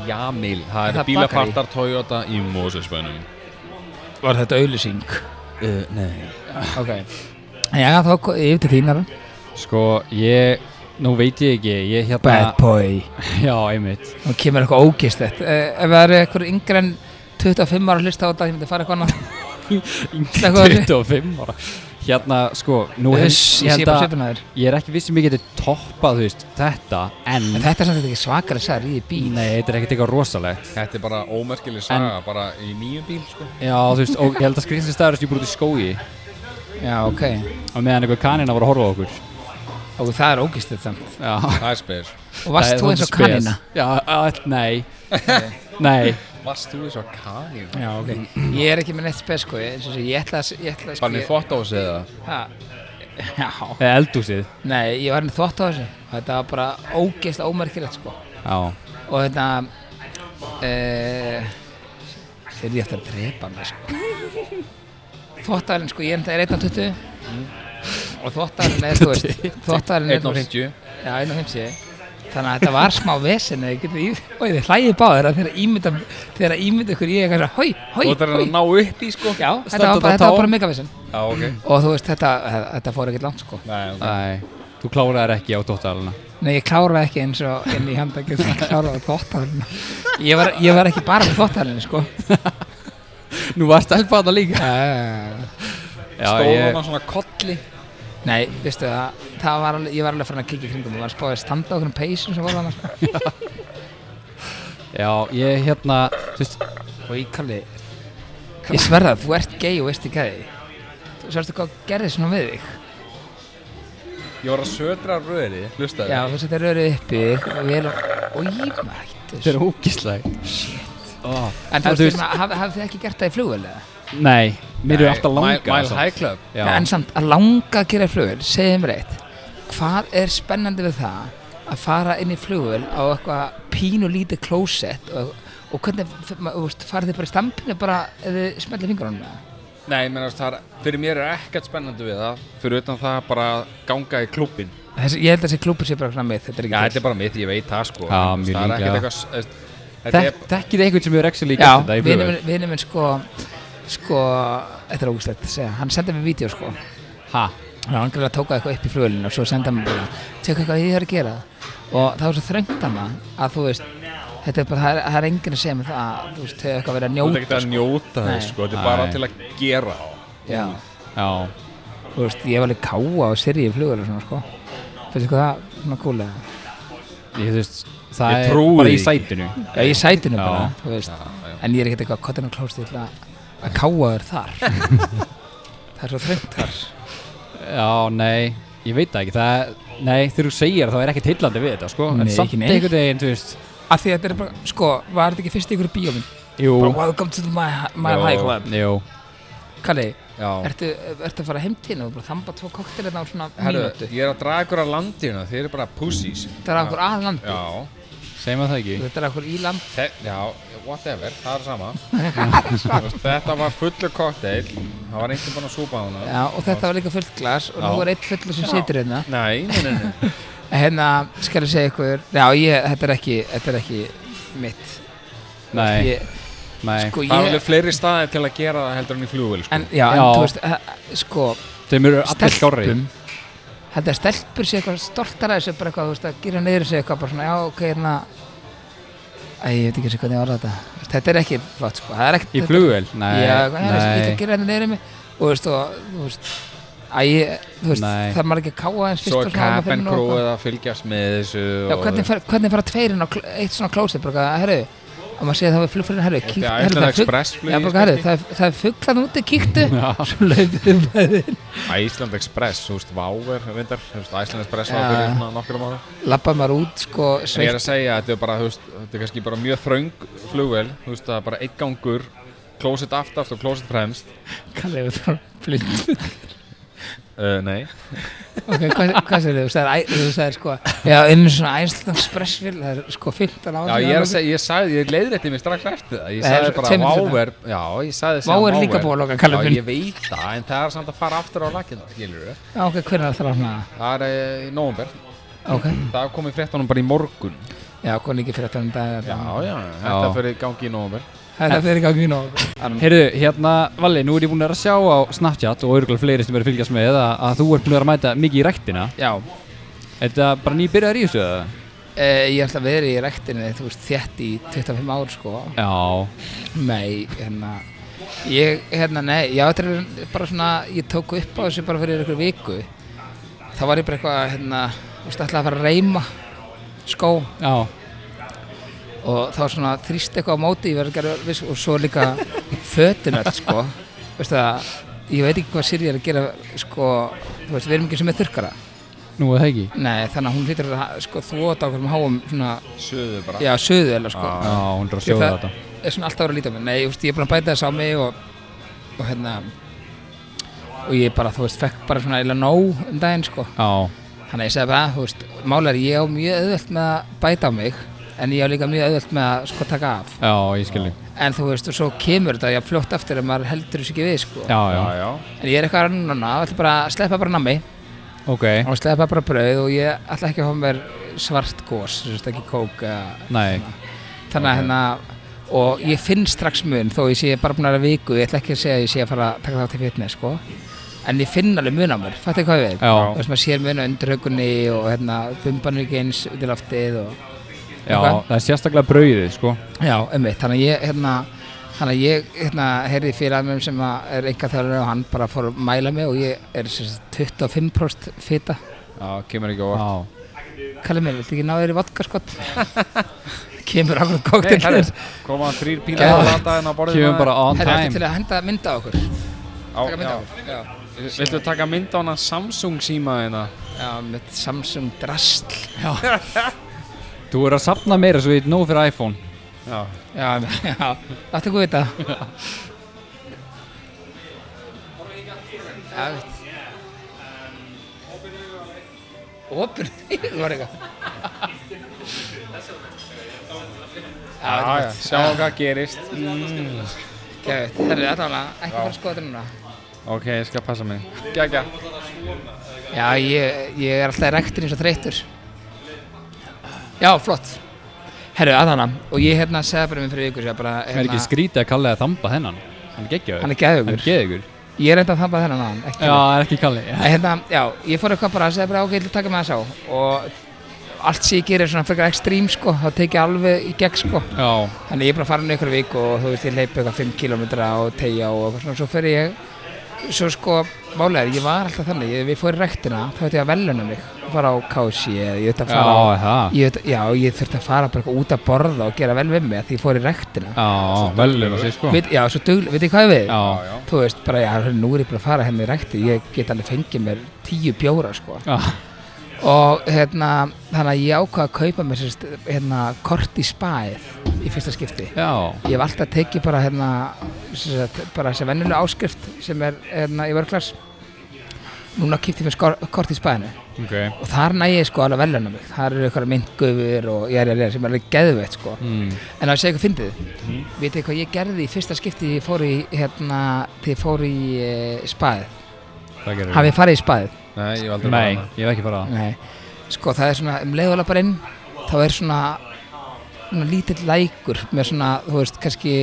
B: Jamil, það
A: Er
B: eru
A: það
B: bílapartar Toyota í Mósinsbænum
A: Var þetta auðlýsing?
B: uh, Nei
A: Ok Já, þá, ko- ég veit ekki þínar
C: Sko, ég, nú veit ég ekki Ég hérna
A: boy
C: Já, einmitt
A: Nú kemur eitthvað ógistett uh, Ef það eru einhver yngri en 25 ára að hlusta á þetta Ég myndi fara eitthvað annað Slekku á því.
C: 25 ára Hérna, sko, nú
A: Uss, Eh, Ég sé bara svipin að þér
C: Ég er ekki viss sem ég geti toppað, þú veist, þetta En,
A: En þetta er samt ekki svakar að sæða í bíl
C: nei, þetta er ekkert eitthvað rosalegt
B: Þetta er bara ómerkileg saga, bara í nýjum bíl sko.
C: Já, þú [LAUGHS] veist, og ég held að skrýnsins staður sem ég brúti í skói
A: Já, ok
C: Og meðan eitthvað kanina voru að horfa á okkur
A: Og það er ógistett samt
C: Já
B: Það er spes
A: Og varst
C: Það er
A: þú eins og
C: svolítið
A: kanina?
C: spes. Já, að, nei Nei,
B: Varst þú eins og kanin?
A: Já, ok Ég er ekki með neitt spes, sko Ég, eins og sé, ég ætla að s- Ég ætla að
B: Bara niður
A: ég-
B: fótt á sig eða?
A: Ha, Já
C: eða eldúsið
A: Nei, ég var henni þvott á þessu og Þetta var bara ógeðslega ómerkilegt, sko
C: Já,
A: Og þetta uh, Þeir ég eftir að drepa mig sko. Þvóttarinn sko, ég er 1.20 Og þvóttarinn er, þú veist Þvóttarinn
C: Hérna
A: er,
B: 1.50
A: Já, 1.50 Þannig að þetta var smá vesen Og þið hlæðið báðir að þeirra ímynda Þeirra ímynda ykkur ég eitthvað Hói, hói,
B: Þú ætlar að
A: hói
B: ná upp í sko?
A: Já, þetta var bara,
C: Standa á
A: þetta var
C: tám.
A: bara mega vesen
B: Já, ok
A: Og þú veist, þetta, þetta fór ekkert langt sko
B: Nei, ok
C: nei Þú kláraðir ekki á dóttalina
A: Nei, ég kláraði ekki eins og inn í handakið Ég kláraði þvóttarinn ég, var- ég var ekki bara með þvóttarinn sko
C: Nú var stelpaðna líka
A: uh,
C: Já,
B: Stóð
C: ég,
B: hann svona kolli
A: Nei, veistu það, það var alveg, ég var alveg farin að kíkja í kringum og var spáðið að standa okkur um peysum sem voru annars
C: já, ég hérna, þú veist
A: [LAUGHS] og ég kalli ég sverða, þú ert gay og veist ekki að því þú sverðstu hvað gerðið svona við þig
B: Ég var að södra röðri, hlustaði
A: já, þú veist þetta er öruð uppi og við erum, og ég var hættu
C: Þetta er ógíslæg Shit oh.
A: en þú veist, hafið haf þið ekki gert það í flugvel eða?
C: Nei, mér er alltaf
B: Mile-
C: langa
B: Mile High Club
C: Já,
A: en samt, að langa að gera í flugvel segjum reitt, hvað er spennandi við það að fara inn í flugvel á eitthvað pínu lítið klósett og, og hvernig, f- ma- þú veist, farið þið bara í stampinu bara, eða smellir fingurunum með það
B: Nei, menn að það er, fyrir mér er ekkert spennandi við það Fyrir utan það bara að ganga í klúbin Já,
A: Þessi, ég held að þessi klúpur sé bara svona með, þetta er ekki
B: þetta er bara mitt, ég veit það sko
C: Já,
B: Þú veist,
C: mjög
B: Það er ekkert eitthvað, s- þú veist, þetta er
C: líklega. Þek, þekkið þið einhvern sem hefur ekki líka
A: Já,
C: þetta í
A: vinur
C: flugvél?
A: minn- vinur minn sko, sko, þetta er ógustlega að segja, hann sendi mér vídeo sko,
C: Ha?
A: hann var angrilega að tóka eitthvað upp í flugulinu og svo sendi hann mér bara, tjekka eitthvað ég er að gera og það var svo þröngt hann að þú veist, þetta er bara, það er, það er enginn að segja mér það, að, þú veist, þau eitthvað verið að
B: Þú ert
A: njóta
B: ekkert að njóta
A: Nei.
B: þess sko, þetta er
C: Nei.
B: bara til að gera það.
A: Já,
C: Já
A: þú veist, ég var alveg káa og sirri í flugulinu svona sko, finnst þið hvað það, svona kúlega,
C: Ég þú veist, það
B: Ég
C: er
B: trúi því
C: bara í
B: ekki.
C: sætinu
A: já, ég sætinu
C: Já.
A: bara, þú veist,
B: Já, já.
A: en ég er ekkert eitthvað, hvað er hann klóst, ég ætla að að káa þér
B: [LAUGHS]
A: þar það er svo þröngt þar
C: Já, nei, ég veit það ekki það, Nei, þegar þú segir það, þá er ekkert heillandi við þetta sko. En
A: Nei,
C: samt
A: ekki neitt.
C: einhvern veginn, þú veist
A: af því að þetta er bara, sko, var þetta ekki fyrst í ykkur bíóminn?
C: Jú,
A: Bara welcome to my, my
B: Jó.
A: high club
C: jú,
A: Kalli,
B: Já.
A: ertu, ertu að fara heim til þín og bara þamba tvo koktelina á svona
B: Herru,
A: mínútu
B: ég er að draga ykkur að landinu, þeir eru bara pussies.
A: þetta er okkur að landi
B: Já,
C: segjum að það ekki
A: þetta er okkur í land
B: Þe já, whatever, það er [LAUGHS] sama. Þú veist, þetta var fullur kokteil, það var einhvern búinn að súpa á hana.
A: já, og þetta var líka fullt glas og nú
B: Já.
A: er eitt fullur sem situr hérna
B: Nei, nei, nei, nei.
A: hérna, skal ég segja ykkur já, ég, þetta er ekki, þetta er ekki mitt
C: Nei,
A: ég,
C: nei
A: sko,
B: Það er
A: ég,
B: alveg fleiri staði til að gera það heldur en í flugvel, sko.
A: en, já, en
C: Já.
A: þú veist eh, sko,
C: Þeim eru allir skárri
A: stelpum held að stelpur sé eitthvað stortar að þessu bara eitthvað, þú veist, að gera neyður sig eitthvað bara svona, já, ok, hérna Æ, ég veit ekki eins og hvernig ég orða þetta Þú veist, þetta er ekki flott, sko, það er ekkert
C: Í flugvel? Nei,
A: já, hvað er þessi, ég ætla að
C: nei
A: gera hérna neyður mig og þú veist, og, þú veist Æ, ég- þú veist,
C: Nei.
A: það er maður ekki að káa eins fyrst
B: Svo
A: og
B: er
A: svona, maður
B: Cap
A: finnur
B: and
A: nú
B: Crew
A: eitthvað.
B: eða að fylgjast með þessu
A: Já, hvernig, fer, hvernig fara tveirinn á kl- eitt svona klósið, bara, eitthvað, herru, að maður segja það við flugfyririnn, herru, kíkt,
B: Þetta er
A: herru, það
B: Æsland
A: er fugg,
B: Express
A: já,
B: flugið, sko.
A: bara, herru, það er- það er fugglan úti,
B: [LAUGHS]
A: kíktu, svo laupið um bæðið.
B: Æsland Express, þú veist, Váver, reyndar, þú veist, Æsland Express
A: Já.
B: var fyrir svona nokkrum ára.
A: Lappa maður út, sko,
B: En ég er
A: sveitt,
B: að segja að þetta er bara, þú veist, þetta er kannski bara mjög þröng flugvel, þú veist, það er bara einn gangur, klósett aftast og klósett fremst.
A: kallið við það, blind.
B: Uh, nei.
A: [LAUGHS] Ok, hvað, hvað segir þú? Þú sagðir, æ- þú sagðir sko, já, einu svona ænslan spressfél, það er sko 15 ára.
B: Já, ég er að segja, ég sagði, ég leiðrætti mér strax eftir það. Ég
A: Nei,
B: sagði bara
A: tveimur seinna.
B: Váver, já, ég sagði
A: Vá er líka búið að loka
B: Já,
A: kallum.
B: ég veit það, en það er samt að fara aftur á lakina, skilur við.
A: Já, ok, hvernig er það að hana?
B: Það er eh, í nóvumber.
A: Ok,
B: Það kom í fréttunum bara í morgun.
A: já, hvað líka fyrir að tala um dag.
B: Já, já, þetta fyrir gangi í nóvumber.
A: Það er fyrir ekki á mínu ára.
C: [LAUGHS] Heyrðu, hérna, Valli, nú er ég búin að vera að sjá á Snapchat og örgulega fleiri sem eru að fylgjast með að, að þú ert búin að vera að mæta mikið í ræktina
A: Já,
C: Er þetta bara nýbyrjaður í þessu eða?
A: e, ég ætla að vera í rektinni, þú veist, þétt í 25 ár, sko.
C: Já,
A: Nei, hérna, ég, hérna, nei, já, þetta er bara svona, ég tók upp á þessu bara fyrir ykkur viku. Þá var ég bara eitthvað, hérna, þú veist, ætlaði að fara að reyma skó.
C: já,
A: og þá svona þrýst eitthvað á móti ég verður að gera viss og svo líka fötin öll sko veistu það, ég veit ekki hvað Siri er að gera sko, þú veist, við erum ekki sem er þurrkara
C: nú er það ekki
A: nei, þannig að hún hlýtur að ha- sko þvóta á hverjum háum svona,
B: Suðu bara.
A: já, söðu eða sko
C: Já, hún er að
A: Ég
C: sjóða
A: það-
C: Ah, þetta
A: er svona alltaf að vera að líta á mig nei, þú veist, ég er búin að bæta þess á mig og, og hérna og ég bara, þú veist, fekk bara svona eila nóg um daginn sko
C: Já,
A: Þannig að ég segi bara, þú veist, málar ég á mjög auðvelt með að bæta á mig en ég á líka mjög auðvelt með að sko taka af
C: já, ég skilji
A: en þú veist, og svo kemur þetta ég fljótt aftur að maður heldur þessu ekki við sko.
C: Já, já,
B: Já, já.
A: en ég er eitthvað að núna, ætla bara að sleppa bara nammi
C: ok,
A: og sleppa bara brauð og ég ætla ekki að hafa mér svart gós, þú veist, ekki kók eða-
C: nei
A: þannig að hérna og ég finn strax mun þó ég sé bara búin að vera viku, ég ætla ekki að segja að ég sé að fara að taka þátt í fitness sko. en ég finn alveg mun á mér, fattu ekki hvað ég veit
C: Já,
A: þú veist, maður sér mun á undurhaugunni og hérna, bumbanur ekki eins út í loftið og
C: já,
A: Ok.
C: það er sérstaklega brauðið, sko
A: Já, einmitt, þannig að ég hérna, þannig að ég hérna heyrði fyrir að mér sem að er enga þjálfur og hann bara fór að mæla mig og ég er sem sagt 25% fita
B: Já, kemur ekki á orð.
C: Já,
A: Kallið mér, viltu ekki ná þér í vodka skott? [LAUGHS] Kemur akkur
B: Nei,
A: kóktel
B: herru,
A: þér
B: koma þrýr pílar
C: Geðveikt.
B: að lata henn á borðið.
C: kemur bara on
A: Herra, ertu
C: time
A: til að henda mynd á okkur? Taka mynd á
B: á.
A: okkur? Já,
B: já. Viltu taka mynd á hana Samsung síma hérna?
A: já mitt Samsung drastl
C: Þú er að safna meira svo við nóg fyrir iPhone
B: Já.
A: [LAUGHS] Já, já, láttu ekki vita Já, veit Opinu augun var eitthvað
B: Já, já, sjáum hvað gerist.
A: Geðvitt, það er allavega ekki fara að skoða þetta núna
B: Ok, ég skal passa mig. Gægja.
A: Já, ég, ég er alltaf rektur eins og þreytur Já, flott Herru, aðhana, og ég hérna segði bara mér fyrir ykkur sér bara,
C: Það er ekki
A: hérna,
C: skrítið að kalla það þamba þennan Hann er geggjöður
A: hann er geðugur
C: er Hérna. geggjöður
A: Ég er enda að þamba þennan aðan, ekki
C: Já, það er ekki kallið
A: Að hérna, já, ég fór eitthvað bara að segja bara ok, ég ætla að taka með það sá og allt sem ég gerir er svona frekar ekstrím sko, þá tek ég alveg í gegn sko
C: Já,
A: þannig ég er bara farin einhver vik og þú veist ég hleyp eitthvað 5 km og tegja og eitthvað svona, svo fer ég svo sko, málega er, ég var alltaf þannig, ég, við fórum í rektina, þá ætti ég að velunum mig, fara á kási eða ég ætti að fara á,
C: Já, það
A: ég, veit- já, ég þurfti að fara bara eitthvað út að borða og gera vel við mig af því ég fór í rektina.
C: Já, velum að segja sko
A: Veit, já, svo dugl, veit ég hvað við?
C: Já,
B: já.
A: Þú veist, bara, já, nú er ég bara að fara henni í rekti, ég get alveg fengið mér tíu bjóra, sko.
C: já,
A: Og hérna, þannig að ég ákvað að kaupa mér, sérst, hérna, kort í spæð í fyrsta skipti.
C: já
A: Ég hef alltaf tekið bara hérna sem sagt, bara þessi vennilega áskrift sem er hérna í vörklass núna kipti mér skor- kort í spæðinu
C: Ok
A: og þar næ ég sko alveg velunum mig þar eru eitthvað myndgöfur og ég er ég er sem er alveg geðveitt sko
C: mm.
A: en að segja eitthvað fyndið mm. vitið þið hvað ég gerði í fyrsta skipti þegar ég fór í hérna þegar ég fór í e, spæðið
B: Það gerir
A: hafið þið farið í spæðið
B: Nei, ég hef aldrei
C: Nei,
B: farið hana.
C: ég hef ekki farað
A: Nei, sko það er svona um leiðulega bara inn þá er svona, svona lítill lækur með svona, þú veist, kannski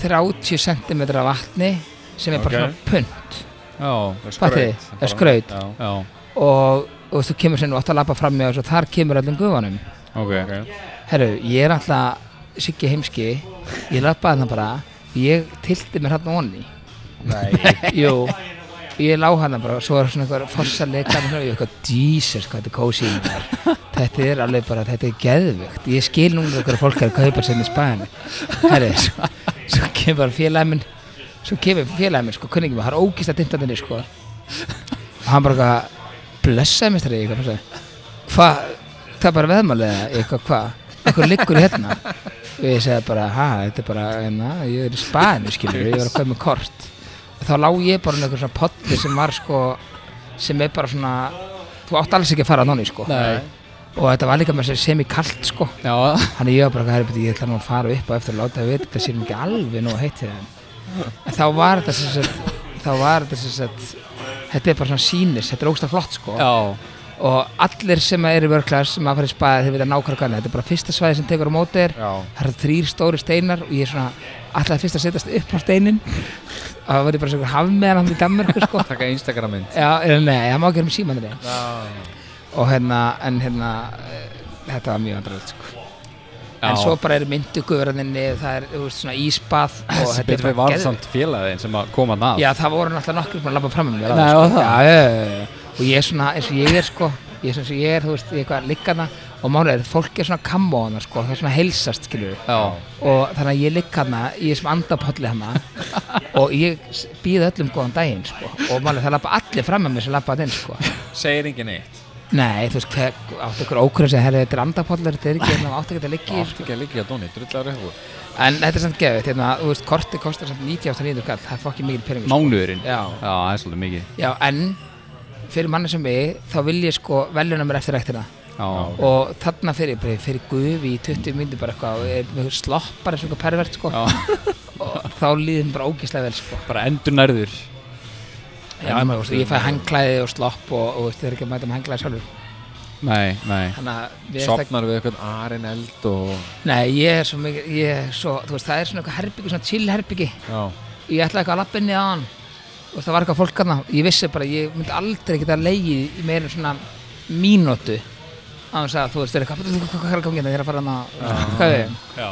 A: 30 cm vatni sem er
B: Ok.
A: bara svona punt
C: Já,
B: Það er
A: Fattiði,
B: skraut.
A: er skraut.
B: Já,
C: já,
A: og, og veist, þú kemur sér nú átt að lappa fram með og þar kemur öllum guðanum
C: ok
B: ok
A: Herru, ég er alltaf Siggi heimski, ég lappaði þarna bara ég tilti mér hérna onni
B: Nei
A: [LAUGHS] Jú, ég lá hana bara og svo er svona einhver fossalega og ég eitthvað, Jesus, hvað þetta er kósi í mér Þetta er alveg bara, þetta er geðvögt Ég skil núna okkur fólk er að kaupa sérna í spæðan Herri, svo, svo kemur bara félagin minn Svo kemur félagin minn, sko, kunningi minn, hann er ógist að dinda þenni, sko Og hann bara eitthvað, blessaði mistari, ég eitthvað, blessaði Hvað, það er bara veðmálið, eða? Ég eitthvað, hvað, eitthvað liggur hérna Og ég segi bara, ha, þetta er bara, hérna, ég er í spæðinu, skilur, ég var að kaupa með kort þá lá ég bara um einhver svona potli sem var sko sem er bara svona þú átt alls ekki að fara að nonni sko
C: Nei,
A: og þetta var líka með sér semikalt sko
C: já,
A: þannig ég var bara að ég ætla nú að fara upp og eftir að láta það vita þetta sé mér ekki alveg nú að heiti það en þá var þetta sem sagt þá var þetta sem sagt þetta er bara svona sínis, þetta er ógsta flott sko
C: já
A: og allir sem eru í vörklass sem að fara í spaði þeir vita nákvæmlega hvað þetta er bara fyrsta svæði sem tekur á móti þér
B: Já
A: það eru þrýr stóri steinar og ég er svona alltaf fyrst að setjast upp á steinin og það verður bara svona hafmeðan hann í Danmörku
B: [LAUGHS]
A: sko
B: Takka Instagram mynd
A: Já, eða nei, það má ekki vera með símann þetta
B: Já
A: og hérna, en hérna eh, þetta var mjög andralegt sko. en svo bara eru myndugöfurðinni það er, þú veist, svona
C: [LAUGHS]
A: ísbað og
C: Þessi betur við
A: geðveikt.
C: varðsamt félagin sem að koma hann að
A: Já, það voru náttúrulega nokkur búin að labba fram um mér
C: Nei,
A: áður,
C: og
A: sko.
C: það?
A: Já, já, já, já. Og ég er svona, eins og ég er sko Ég er svona eins og ég er, þú veist, ég er eitthvað liggana Og málega er, fólk er svona kammo hana sko Það er svona heilsast, skilur
C: Já,
A: Og þannig að ég ligg hana, ég er sem andapolli hana
C: [LAUGHS]
A: Og ég býð öllum góðan daginn, sko Og málega það labba allir fram um mér sem labba hann inn,
C: [LAUGHS]
A: sko
B: Segir engin eitt
A: Nei, þú veist, hver, áttu ykkur ókurinn sem herri, þetta er andapollar, þetta er ekki, hérna, áttu ekki að liggja í,
B: Átti ekki að liggja að dóni, drullar upp
A: sko. En þetta er samt gefið, hérna, þú veist, kortið kostar samt 99 kall, það er fokkið mikil peningur, sko.
C: mánuðurinn
A: Já.
C: Já, það er svolítið mikið
A: Já, en fyrir manni sem mig, þá vil ég sko veljuna mér eftir rektina.
C: Já,
A: Og þarna fyrir, bara fyrir gufi í 20 myndu bara eitthvað, og er með sloppar eins og eitthvað pervert, sko.
C: já
A: [LAUGHS] Og þá líðum bara ógislega vel, sko.
C: Bara endur nærður
A: Já, en, veist, ég fæ hangklæði og slopp og, og veist, það er ekki að mæta með hangklæði sjálfur.
C: Nei, nei
A: Þannig að við erum
B: Sopnar við eitthvað arinn eld og
A: Nei, ég er svo mikið, ég er svo, þú veist, það er svona eitthvað herbyggi, svona chill herbyggi.
B: Já
A: ég ætlaði eitthvað að lappa inn í aðan og það var eitthvað fólk aðna ég vissi bara, ég myndi aldrei geta leigið í meira en svona mínútu á þess að þú veist, þeir eru eitthvað "Hvað- hvað er að koma hérna, þeir eru að fara hann að hvað við
C: Já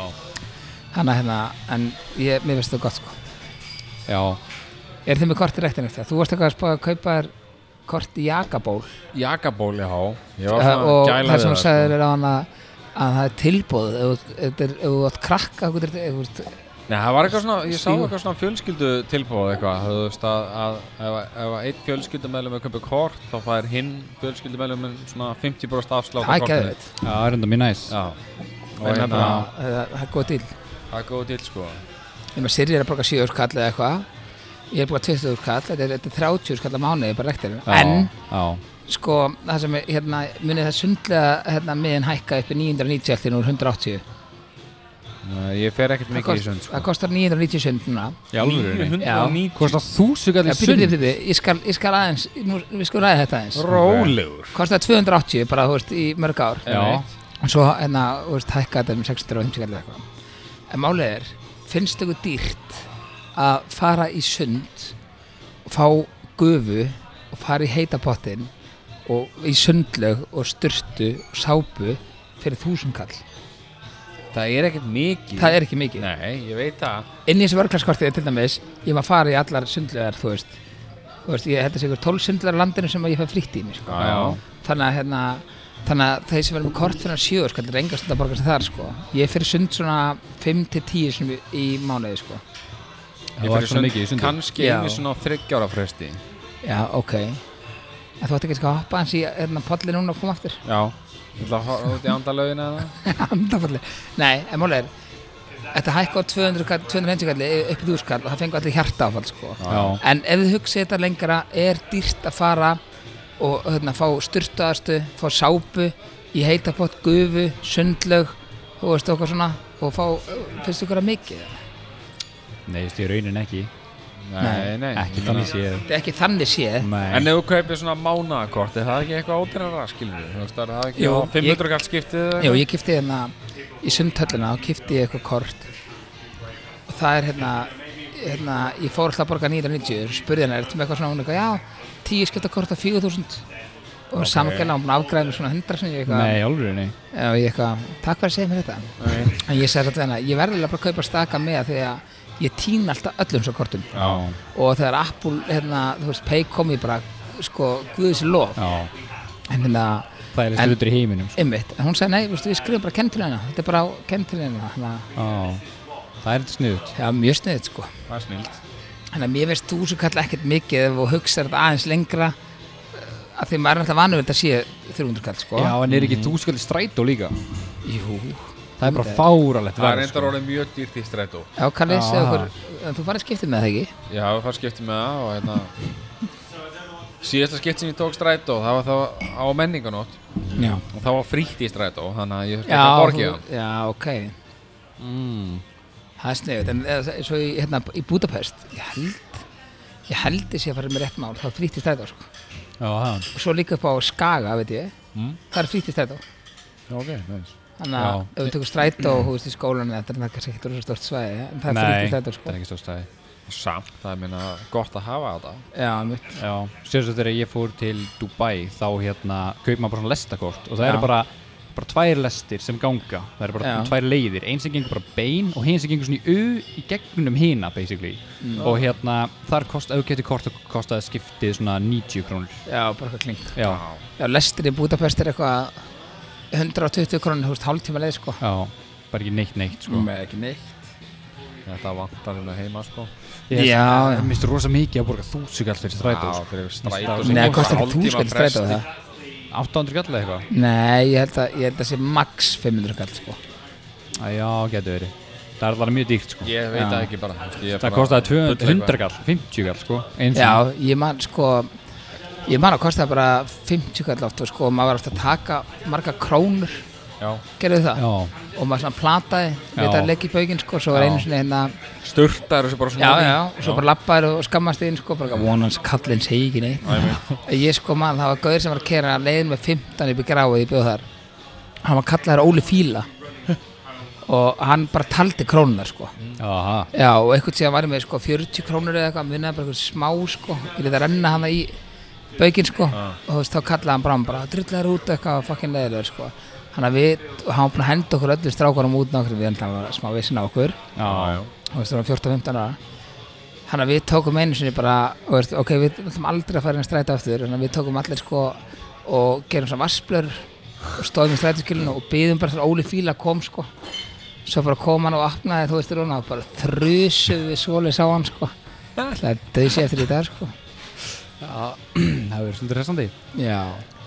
A: þannig að hérna, en ég, mér finnst það gott sko
C: Já,
A: er þið með kort í rektin eftir, þú varst eitthvað að spá að kaupa þér kort í jakaból
B: Jakaból, já Ég var
A: Eh,
B: svona
A: og
B: gæla
A: það
B: við
A: sem þú
B: sko.
A: sagðir er á hana að það er tilbúð ef þú- ef þetta er- ef þú átt krakka ef þú ert- ef þú ert-
B: Nei, það var eitthvað svona, ég sá
A: Stígur.
B: eitthvað svona fjölskyldu tilbúið eitthvað, þú veist að, að ef, ef að einn fjölskyldumælum er köpið kort þá fær hinn fjölskyldumælum svona 50% afslátt
A: það er
B: kortinu.
A: geðveitt
C: já, það er enda mjög næs
B: Já, og
C: En
B: hérna,
C: bara-
A: Eh, það það er góð til
B: það er góð til sko.
A: Ef maður Siri er að borga 7 úrskall eða eitthvað Ég er að borga 20 úrskall Þetta er, þetta er 30 úrskall á mánuði bara rektir
C: Já,
A: En
C: Já,
A: sko það sem er, hérna, munið það sundlega hérna, miðin hækka upp í 990 eftir úr 180
B: Nei, Ég fer ekkert
A: það,
B: mikið í sund
A: það
B: sko.
A: kostar 990 sund núna
C: í alvöru
B: 990
C: Kostar þúsu
A: ja,
C: gallið
A: bíddu,
C: sund
A: bíddu, bíddu, ég, skal, ég skal aðeins nú, Við skulum ræða þetta aðeins
B: Rólegur
A: Kostar 280 bara þú veist í mörg ár
C: Já,
A: Og svo hérna, þú veist, hækka þetta um 650 skall eða eitthvað En málið er, finnst ykkur dýrt að fara í sund fá gufu og fara í heita pottin og í sundlög og styrtu og sápu fyrir þúsundkall
B: það er ekkert mikið
A: það er ekki mikið
B: Nei, ég veit það
A: inn í þessu vörglaskortið til dæmis ég maður fara í allar sundlegar þú veist, þú veist ég held að sigur 12 sundlegar á landinu sem að ég fæ frítt í mér sko.
B: Já, já.
A: þannig að hérna þannig að þeir sem verður með kort fyrir sjö sko, þetta er enga stund að borga sig þar sko ég fyrir sund svona 5-10 sem í mánuði sko
B: Ég
C: Þú ert
B: fyrir
C: svona
B: sund
C: mikið í sundi.
B: kannski
A: Já.
B: einu svona á þryggjára fresti
A: já ok en þú ætti kannski að hoppa hans í hérna polli núna og koma aftur
B: Já Þú ætla að horfa út í andalögin eða
A: andafalli nei, en mál er þetta hækka á 200, kall- 250 kalli upp í þúskall og það fengur allir hjarta sko
C: Já.
A: En ef þið hugsið þetta lengra er dýrt að fara og hérna, fá styrtaðastu, fá sápu í heitapott, gufu, sundlaug og veist okkar svona og fá, finnst ykkur að mikið
C: Nei, ég raunin ekki
B: Nei, nei
C: Ekki
B: ég meina-
C: þannig séð
A: þetta er ekki þannig séð
B: En
C: Nei,
B: ef þú kaupir svona mánakort, er það ekki eitthvað ódýrara, skilur við? Þú veist, er það ekki
A: Jú,
B: á
A: ég-
B: 500 kall skiptið eða
A: Jú,
B: eitthvað?
A: ég kipti hérna í sundhöllina og kipti ég eitthvað kort og það er hérna, hérna ég fór alltaf að borga 990 og spurði hérna, er þetta með eitthvað svona, hún eitthvað, já 10 skipta kort á 4000 og okay. samgæla, hún afgræði mér svona 100 sem ég eitthvað
C: nei alveg nei
A: Já, ég eitthvað, takk fyrir að segja mér þetta En ég segi þetta við hana, ég verði alveg bara að kaupa staka með því að ég týn alltaf öllum svo kortum
C: Já,
A: og þegar Apple, hérna, þú veist, Pay kom ég bara, sko, guðis lof
C: já
A: en hérna,
C: Það er
A: En-
C: hlutur í heiminum sko.
A: einmitt, en hún segi, nei, veistu, við skrifum bara kenn til hennar, þetta er bara kenn til hennar þannig að,
C: Já, það er snuðt
A: já, mjög sniðið, sko
B: Það er snild.
A: Þannig að mér veist þú svo kalla ekkert mikið ef þú hugsa þetta aðeins lengra eh, að því maður er alltaf vanur við þetta sé 300 kall, sko
C: Já, en er ekki þúskall strætó líka
A: Jú,
C: Það er bara fáralegt
B: Það er
C: verð, sko.
B: reyndar orðið mjög dýrt í strætó.
A: já, Kalli,
C: Já.
A: segðu okkur, en þú farið skiptið með það ekki?
B: Já, við fannst skiptið með það og hérna... Síðasta skipt sem ég tók strætó, það var þá á menninganót
A: Já
B: og það var frítt í strætó, þannig að ég þurfti
A: Já,
B: ekki að borga í
A: þú-
B: það.
A: já, ok
C: mm.
A: Það er sniðut, en eða s- svo í, hérna, í Budapest ég held ég held þessi að fara með rétt mál, þá er frítt í strætó sko.
C: Já, það
A: og svo líka upp á Skaga, veit ég
C: Mm.
A: það er frítt í strætó
B: Já, ok, nice.
A: þannig að
C: Já.
A: ef þú tekur strætó og húst í skólan þetta er það kannski ekkert rosa stort svæði en það er frítt
C: Nei,
A: í strætó
C: það
A: sko.
C: er ekki stór stæði
B: Samt, það er minna gott að hafa þetta.
A: já, mitt,
C: Já, sér svo þegar ég fór til Dubai þá hérna kaup maður bara svona lestakort og það
A: Já.
C: eru bara, bara tvær lestir sem ganga það eru bara
A: Já.
C: tvær leiðir, eins sem gengur bara bein og hins sem gengur svona í u í gegnum hina basically og hérna þar kost, ef þú getur kort þá kostaði skiptið svona 90 krónur
A: já, bara eitthvað kling
C: Já,
A: já, lestir í Budapest er eitthvað 120 krónir, húst, hálftíma leið sko.
C: já, bara ekki neitt neitt sko
B: Með ekki neitt. Þetta vantar hérna heima, sko.
C: Ég-
A: Já, já.
C: Mér finnst rosa mikið að borga þúsugall fyrir strætó
B: Já,
C: sko.
B: fyrir strætó.
C: Nei,
B: sem
A: Nei,
B: er
A: það kostar
B: bara
A: ekki túskall
B: hálftíma
A: strætó
B: fresti.
A: það
C: 800 gall eða eitthvað
A: Nei, ég held að, ég held að sé max 500 kall sko.
C: Æ, Já, getur verið Það er alveg mjög dýrt sko
B: Ég veit
A: Já.
B: það ekki bara. þú veist, ég er
C: Það
B: bara-
C: kostaði
B: bull
C: 200
B: eitthvað.
C: 100 gall, 50 gall sko einu sinni.
A: Já, ég man sko ég man að kosta bara 50 kall oft og sko maður var oft að taka marga krónur
B: Já.
A: gerðu það
C: Já,
A: og maður svona plataði
C: Já.
A: við að leggja í bauginn sko svo var
C: Já.
A: einu sinni hérna
B: Sturtar þessu bara svona.
A: já, já, og svo bara lappaði og skammaði inn sko bara vonans kallinn segi ekki neitt ég sko man það var gauður sem var að kera leiðin með 15 upp í gráið í bjóð þar hann var kallaður Óli Fíla og hann bara taldi krónunar sko
C: Aha,
A: Já, og einhvern tíðan var ég með sko 40 krónur eða eitthvað, minnaði bara eitthvað smá sko, ég leti að renna hana í baukinn sko, og þú veist, þá kallaði hann bara, hann bara drullar út eitthvað, fucking leðilegur sko. Þannig að við, og hann var búinn að henda okkur öllu strákunum út nokkur, við hann var smá vissin á okkur,
C: já, já,
A: og þú veist, það var 14-15 ára. Þannig að við tókum einu sinni bara, og veist, ok, við ætlum aldrei að fara inn að stræta aftur, þannig að við tókum allir sko, og gerum svona vassblör, og stóðum í strætaskilinu og byðum bara þegar Óli Fíla kom sko svo bara kom hann og opnaði þú veist Rúna og bara þrusuð við svoleið sá hann sko það er döðsi eftir í dag sko
C: [CLEARS THROAT] Það verður svolítið resandi
A: já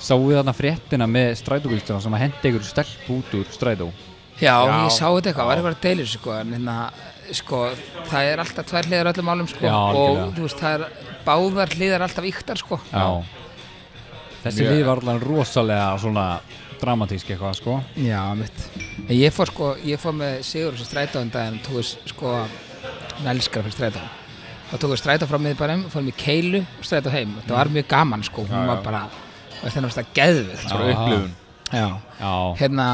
C: Sáu þið þarna fréttina með strætóbílstjóðan sem að hendi ykkur stelp út úr strætó
A: já, ég sá þetta eitthvað, var eitthvað að deilur sko en hérna, sko það er alltaf tvær hliðar á öllum málum sko
C: Já, algjörlega.
A: og þú veist það er báðar hliðar alltaf yktar sko
C: Þessi
B: Mjög-
C: lið var alveg rosalega svona dramatísk eitthvað sko
A: já, mitt en ég fór sko, ég fór með Sigur sem strætó en daginn og tókist sko hann elskar fyrir strætó þá tókum við strætó frá miðbærum, fórum í keilu og strætó heim, þetta var mjög gaman sko hún var bara, þannig að þetta geðvilt
B: Bara
A: sko.
B: upplifun.
A: já.
C: Já,
A: hérna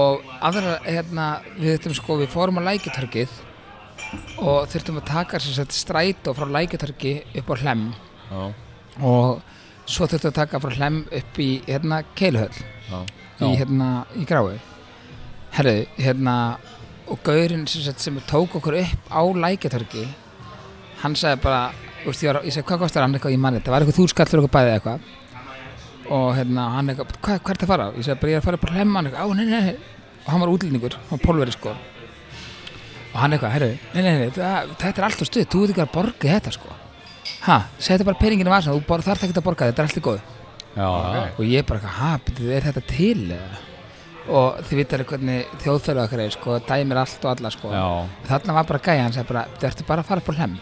A: og aðra, hérna, við þetta sko við fórum á lækjartorgið og þurftum að taka sér sett strætó frá lækjartorgi upp á hlem
B: Já.
A: og svo þurftum að taka frá hlem upp í hérna keiluhöll
B: Já.
A: í
C: Já.
A: hérna í gráu herru, hérna og gaurinn sem, sagt, sem tók okkur upp á lækjatorgi hann sagði bara, þú veist, ég, var, ég segi hvað kostar hann eitthvað, ég manni, það var eitthvað þúskall fyrir okkur bæði eða eitthvað og hérna, hann eitthvað, hvað, hvað er það að fara? ég segi bara, ég er að fara bara að hlemma hann eitthvað, á, nei, nei, nei og hann var útlendingur, hann var pólveri sko og hann eitthvað, herru, nei, nei, nei, það, þetta er allt á stuð, þú veit ekki að borga þetta sko ha, segi þetta bara peninginu var þú bara þarf ekki að borga þetta, þetta er allt í góð
C: Já, okay.
A: og ég bara, eitthvað, ha, byrju, er þetta til eða? og þið vitar hvernig þjóðfælu okkar er, sko, dæmir allt og alla sko.
C: já,
A: þarna var bara gæja hann sagði bara, þú ertu bara að fara bara hlæm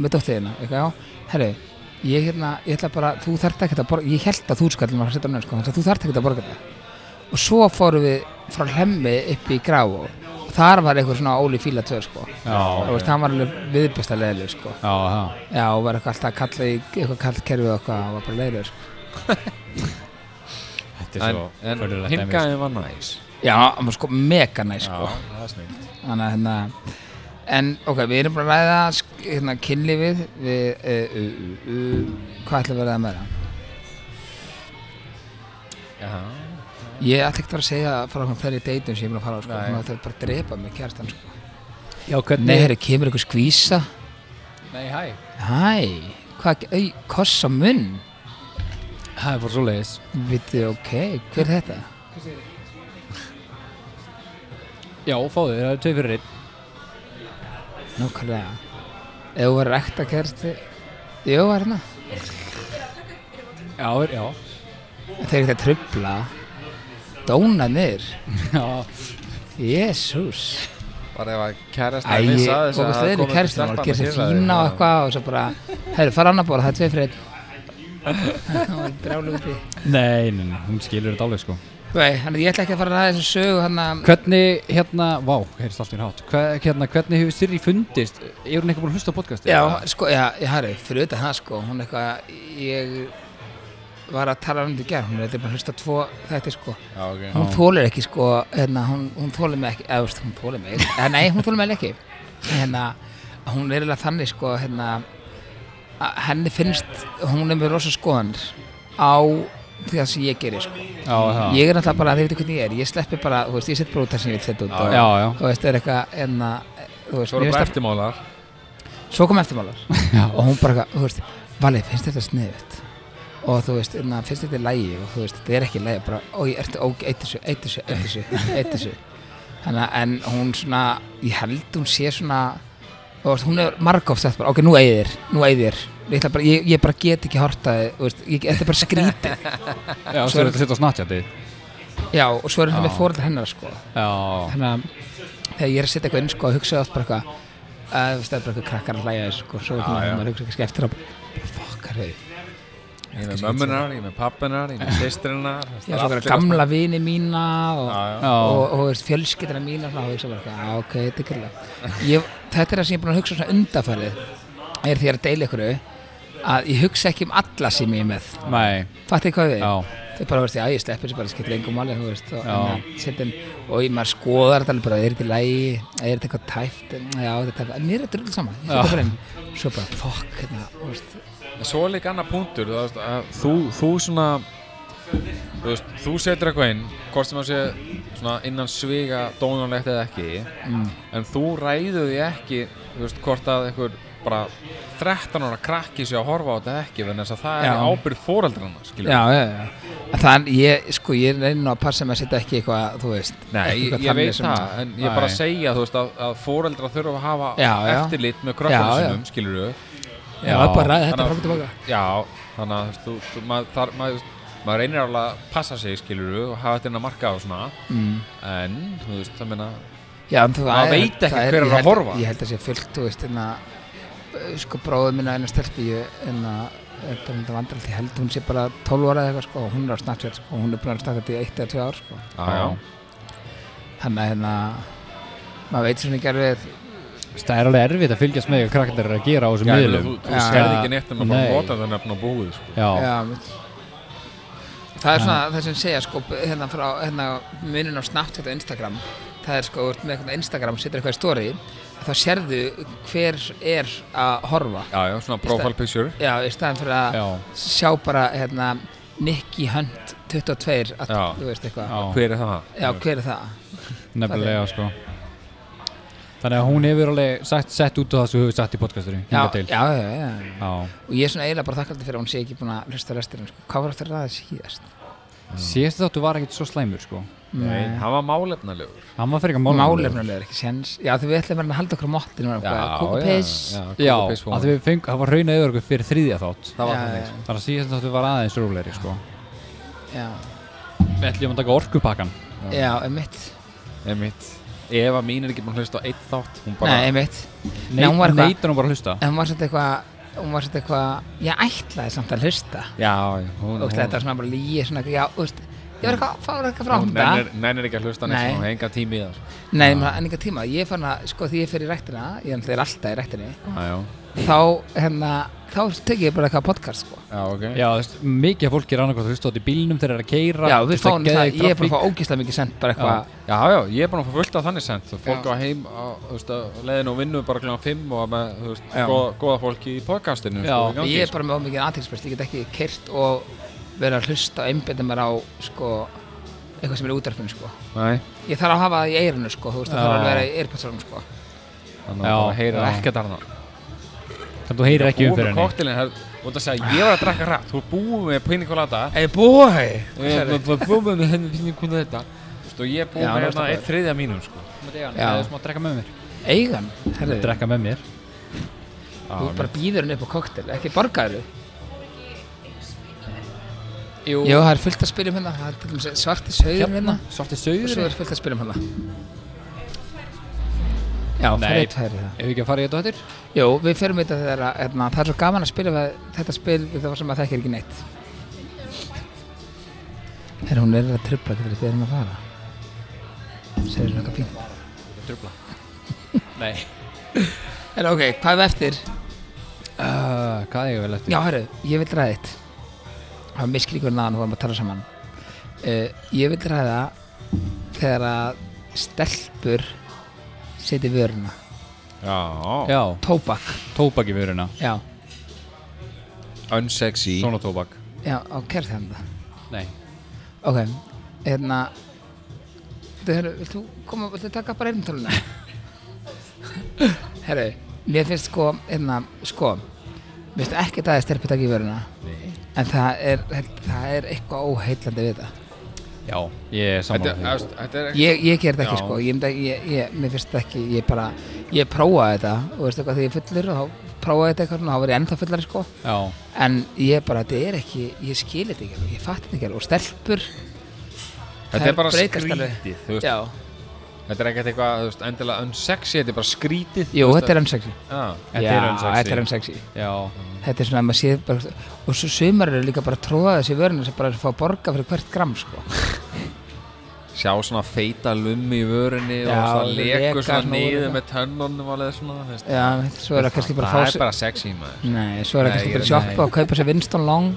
A: með dóttiðina, eitthvað, já, herru ég hérna, ég ætla bara, þú þarft ekki að borga ég held að þú skallum að setja hann sko, þannig að þú þarft ekki að borga þetta og svo fórum við frá hlæmmi upp í grá og þar var eitthvað svona Óli Fíla 2 sko,
C: já,
A: og veist, hann var alveg viðbesta leiðileg sko,
C: já, já.
A: já, og var eitthvað alltaf að kalla í eitthvað kallt kerfið og eitthvað, og var bara leiðileg sko.
C: Þetta er
B: En,
C: svo sko.
B: en
C: förðulegt
B: hinn gæðin var næs
A: já, hann var sko mega næ sko.
C: það er snill
A: þannig að hérna en ok, við erum bara að ræða sk- hérna, kynlífið við uh, uh, uh, uh, hvað ætlum við að ræða meira? Ég ætla ekkert að fara að segja að fara okkur fleiri deytum sem ég er búin að fara á sko,
B: Nei.
A: þannig að það er bara að drepa mig kjartan sko.
C: Já, hvernig
A: Nei, herri, kemur einhver skvísa
C: Nei, hæ
A: Hæ, hvað, au, koss á munn
C: Það er bara svo leiðis
A: Vitið, ok, hver er þetta?
C: Já, fáðu, það er tvei fyrir einn
A: Nákvæmlega Ef þú var rekta kærasti Jú, var hérna
C: Já, er- já
A: Þeir eru ekki að trubla Dónanir
C: Já,
A: Jésús
B: bara ef að kærast
A: Æ, og það er kærist að gera sér fína og eitthvað og svo bara, heyrðu, fara annar bóra, það er tveið fyrir einn og brjálu uppi
C: nei, nei, nei, hún skilur þetta alveg sko
A: Nei, hann, ég ætla ekki að fara að ræða þessu sögu hann að
C: Hvernig, hérna, vá, heyrist allt í hérna hátt Hva, hérna, Hvernig hefur Sirri fundist? Er hún eitthvað búin að hlusta á podcastið?
A: Já, sko, já, ég harri, fyrir auðvitað það sko hún eitthvað, ég var að tala um þetta í gerð, hún er eitthvað bara að hlusta á tvo þetta sko hún þólir ekki sko hérna, hún, hún þólir mig ekki eða þú veist, hún þólir mig eða, nei, hún þólir mig ekki hérna, hún er eiginlega þannig sko hérna, að henni finnst hún er með rosa skoðanir á því að sem ég gerir sko
C: já, já
A: ég er náttúrulega bara, þið veitum hvernig ég er ég sleppi bara, þú veist, ég set bara út það sem ég vil setja út og,
C: Já, já,
A: þú veist, er eitthvað en að, þú veist,
B: svo eru
A: mér
B: bara
A: finnst
B: eftirmálar
A: það svo kom eftirmálar
C: já,
A: og hún bara, eitthvað, þú veist, Vali, finnst þetta sniðut og þú veist, na, finnst þetta í lægi og þú veist, þetta er ekki í lægi, bara, oi, ertu, ó, eitt þessu, eitt þessu, eitt þessu, eitt þessu þannig að, en hún svona ég held hún sé svona þú veist, hún er margóft sagt bara, ok, nú eigðir nú eigðir, ég, ætla bara, ég, ég bara get ekki hortaði, þú veist, ég, þetta er bara
C: [LAUGHS]
A: skrítið
C: já Svo er þetta sitt á snatjandi
A: já, og svo er
C: Já.
A: það með fóröldar hennar, sko
C: Já,
A: þannig að þegar ég er að setja eitthvað inn sko og hugsa oft bara eitthvað að þú veist, það er bara eitthvað krakkar að hlæja þessu sko svo ah,
B: já.
A: maður hugsa kannski eftir að bara, fuck að reyð
B: ég er með mömmunar, ég er með pappunar, ég er með sýstrinnar
A: ég er svo bara gamla vini mína og,
B: já, já.
C: já,
A: og, og, og fjölskyldina mína og svona, og hugsa bara eitthvað, "Ah, ok, þetta er kyrlega ég, þetta er það sem ég er búin að hugsa svona undanfærið er því að ég er að deila ykkur að ég hugsa ekki um alla sem ég er með
C: nei,
A: fattið hvað við
C: já
A: þau bara, veist, já, ég sleppi þessu bara, skiptir engum máli, þú veist, og,
C: Já.
A: en, setin, og ég maður skoðar þetta alveg bara, er þetta í lagi, er þetta eitthvað tæft, En, já, þetta er, mér er þetta rull saman, ég
C: Já.
A: setja bara inn, svo bara, fokk, hérna, þú veist,
B: svo er líka annar punktur þú, veist, að þú, þú svona þú, veist, þú setur eitthvað inn hvort sem það sé svona innan sviga dónanlegt eða ekki
A: mm,
B: en þú ræður því ekki þú veist, hvort að einhver bara 13 ára krakki sé að horfa á þetta eða ekki vegna þess að það er
A: Já.
B: ábyrð fóreldrana skilur
A: já, já, já, En þann, ég, sko, ég er einn og að passa með að setja ekki eitthvað, þú veist,
B: Nei,
A: ekki
B: ég,
A: eitthvað
B: ég
A: þannig
B: veit
A: sem-
B: það, en ég er bara að
C: Nei.
B: segja þú veist, að, að fóreldra þurfa að hafa
A: Já, já.
B: eftirlit með krökkunum
A: Já, já.
B: sínum, skilur við
A: já, já, bara ræði þetta
B: Þannig að-
A: frá og tilbaka,
B: Já, þannig að þú, veist, þú, maður, þar, maður, maður reynir alveg að passa sig, skilur við, og hafa þetta inn að marka og svona
A: mm.
B: En, þú veist, það meina,
A: já, en þú
B: Maður
A: það
B: veit ekki
A: það
B: hver er
A: ég
B: að
A: held-
B: horfa.
A: ég held að sé fullt, þú veist, en að, sko, bróðið minna einu stelpi, ég, en að, þetta er vandralt, ég held hún sé bara 12 ára eða eitthvað, sko, og hún er á Snapchat, sko, og hún er búin að snakka þetta í eitt eða tvö ár, sko.
B: já, já,
A: Þannig að hérna, maður veit svona ekki alveg,
C: Það er alveg erfitt að fylgjast með hvað krakkarnir eru að gera á þessum
B: já ég meina,
C: miðlum
B: þú, þú
A: Já.
B: skerði ekki neitt en að bara
C: Nei.
B: nota það nefn á búið, sko
C: Já,
A: já, mitt. Það er svona það sem segja, sko, hérna frá, hérna, munin á Snapchat og Instagram, það er sko, þú ert með eitthvað Instagram, setur eitthvað í story, þá sérðu hver er að horfa.
B: Já, já, svona profile picture
A: Já, í staðan fyrir að
C: já,
A: sjá bara, hérna, Nicky Hunt 22 að,
B: Já.
A: þú veist eitthvað já.
C: Já.
B: Hver er það?
A: hver er það?
C: Nefnilega sko Þannig að hún hefur alveg sett, sett út á það sem við hefur sett í podcasturinn
A: Já, já,
C: hingað til.
A: já, já, já.
C: Já.
A: og ég er svona eiginlega bara þakkaldi fyrir að hún sé ekki búin að hlusta resturinn sko. hvað var eftir það síðast?
C: Síðast þáttu var ekkert svo slæmur sko
A: Nei.
B: Hann var málefnalegur
C: Hann var fyrir eitthvað
A: málefnulegur ekki séns já því við ætlum að halda okkur á mottinu kúkapiss
B: já,
C: Já,
B: Kúka Piss
C: að
B: Woman.
C: því við fengum, það var rauna yfir okkur fyrir þriðja þátt
B: Það var
A: Já,
B: þannig
A: já,
B: sko.
C: Þannig að síðast þáttu var aðeins rólegri sko
A: já,
C: Við ætlum að taka orkupakkan
A: já, einmitt
B: Einmitt Eva mín er ekki búin að hlusta á eitt þátt Hún bara
A: nei, einmitt Nei,
C: Neit,
A: hún var eitthvað-
C: Neitar hún bara að hlusta
A: en hún var svolítið eitthvað hún var svolítið eitthvað, ég ætlaði samt að hlusta
B: Já, já, hún,
A: og þetta var svona bara líi svona, já, þú veist, ég var eitthvað að fá eitthvað frá
B: hún
A: hún það
B: nennir, nennir ekki að hlusta neitt
A: Nei.
B: Hún hefði enga tími í það sko.
A: Nei, maður en enga tíma, ég fann að, sko, því ég fer í ræktina, ég náttúrulega er alltaf í ræktinni,
B: Já, já,
A: þá, hérna, þá tek ég bara eitthvað podcast, sko.
B: já, ok
C: Já, þú veist, mikið af fólki er annarkvæmt að hlusta átt í bílnum þegar það er að keira
A: Já, við fáum það, ég er bara að fá ógeðslega mikið sent, bara eitthvað,
B: Já, já, ég er búin að fá fullt af þannig sent og fólk
A: Já.
B: á heim, á, þú veist, að leiðin og vinnu bara kl. 5 og með, þú veist,
A: Já.
B: góða, góða fólki í podcastinu
C: Já.
B: sko, í gangi,
A: ég er bara með ómikið aðtilsprest, ég get ekki kert og verið að hlusta og einbetta mér á, sko, eitthvað sem er í útvarpinu, sko.
B: sko. Nei,
A: Ég þarf að hafa það í eirinu, sko, þú veist, það
C: Já.
A: þarf að vera í eirpatsálum, sko.
B: þannig
C: Já,
B: að það heyrir
C: já.
B: ekkert annað
C: Þannig að þú heyrir ekki um fyrir henni
B: koktilin, og það segja, ég var að drakka rætt, þú er búið með pinnikolata
A: Ey, boy!
B: Ég var búið með henni pinnikolata og ég er búið
A: Já,
B: með
A: það
B: hérna
A: er
B: eitt þriðja mínum, sko
C: Já, það er smá að drekka með mér
A: Eigan, herðu,
C: Drekka með mér
A: þú bara býður henni upp á koktel, ekki borgaðu.
B: Jú,
A: Jú, það er fullt að spyrja um hérna, það er til dæmis svarti sauðurinn hérna.
C: svarti
A: og svo
C: sauður
A: er fullt að spyrja um hana Já,
C: Nei.
A: fyrir eitt færi það
C: Ef við ekki að fara í þetta á þettir
A: Jú, við fyrir með þetta þegar að hérna, það er svo gaman að spila við þetta spil við það sem að þekkir ekki neitt Herra, hún er að trubla þetta við erum að fara Segir hún eitthvað fínt
C: Drubla
A: [LAUGHS]
C: Nei
A: Herra, ok, hvað er eftir?
C: uh, Hvað er ég vel eftir?
A: Já, herru, ég vil ræða eitt Það var miskilíkur náðan og varum að tala saman uh, Ég vil ræða þegar að stelpur seti vöruna
B: já,
C: Já,
A: Tóbak,
C: tóbak í vöruna
A: já
B: unsexy
C: Svona tóbak
A: Já, á kærþjanda
C: Nei
A: Ok, hérna Þú, herru, vilt þú koma, vilt þú taka bara einn töluna? [LAUGHS] herru, mér finnst sko, hérna, sko Mér finnst ekki það að stelpa taka í vöruna
B: Nei.
A: En það er, það er eitthvað óheillandi við það
C: Já, ég er
B: Þetta
C: saman
B: er- þetta er
A: Ég, ég ger þetta ekki
B: Já.
A: sko, ég, myndi ekki- ég, ég, mér finnst það ekki, ég bara Ég prófaði þetta, og veistu eitthvað þegar ég er fullur og þá prófaði þetta eitthvað og þá var ég ennþá fullari sko
C: Já,
A: En ég bara, þetta er ekki, ég skil þetta ekki alveg, ég fatt þetta ekki alveg Og stelpur,
B: Þetta er bara
A: breytast
B: skrítið,
A: alveg.
B: þú veist,
A: já
B: þetta er ekkert eitthvað, þú veist, endilega unsexy, þetta er bara skrítið
A: Jú, þetta er unsexy
B: Já,
C: Þetta
A: Já,
C: er unsexy.
A: Þetta er unsexy
C: já
A: Þetta er svona að maður sé bara Og svo sumar eru líka bara að tróða þessi vörinu sem bara er að fá að borga fyrir hvert gram sko.
B: sjá svona feita lummi í vörinni
A: Já,
B: og
A: og
B: svona
A: leka
B: lekur svona
A: svona
B: niður
A: úr-
B: með tönnunum og alveg svona, þú veist.
A: Já, svo er það kannski bara
B: það
A: að fá
B: er bara sexy maður
A: Nei, svo er það
B: Nei,
A: kannski
B: ég er-
A: bara að sjoppa
B: nei.
A: og kaupa sér Winston Long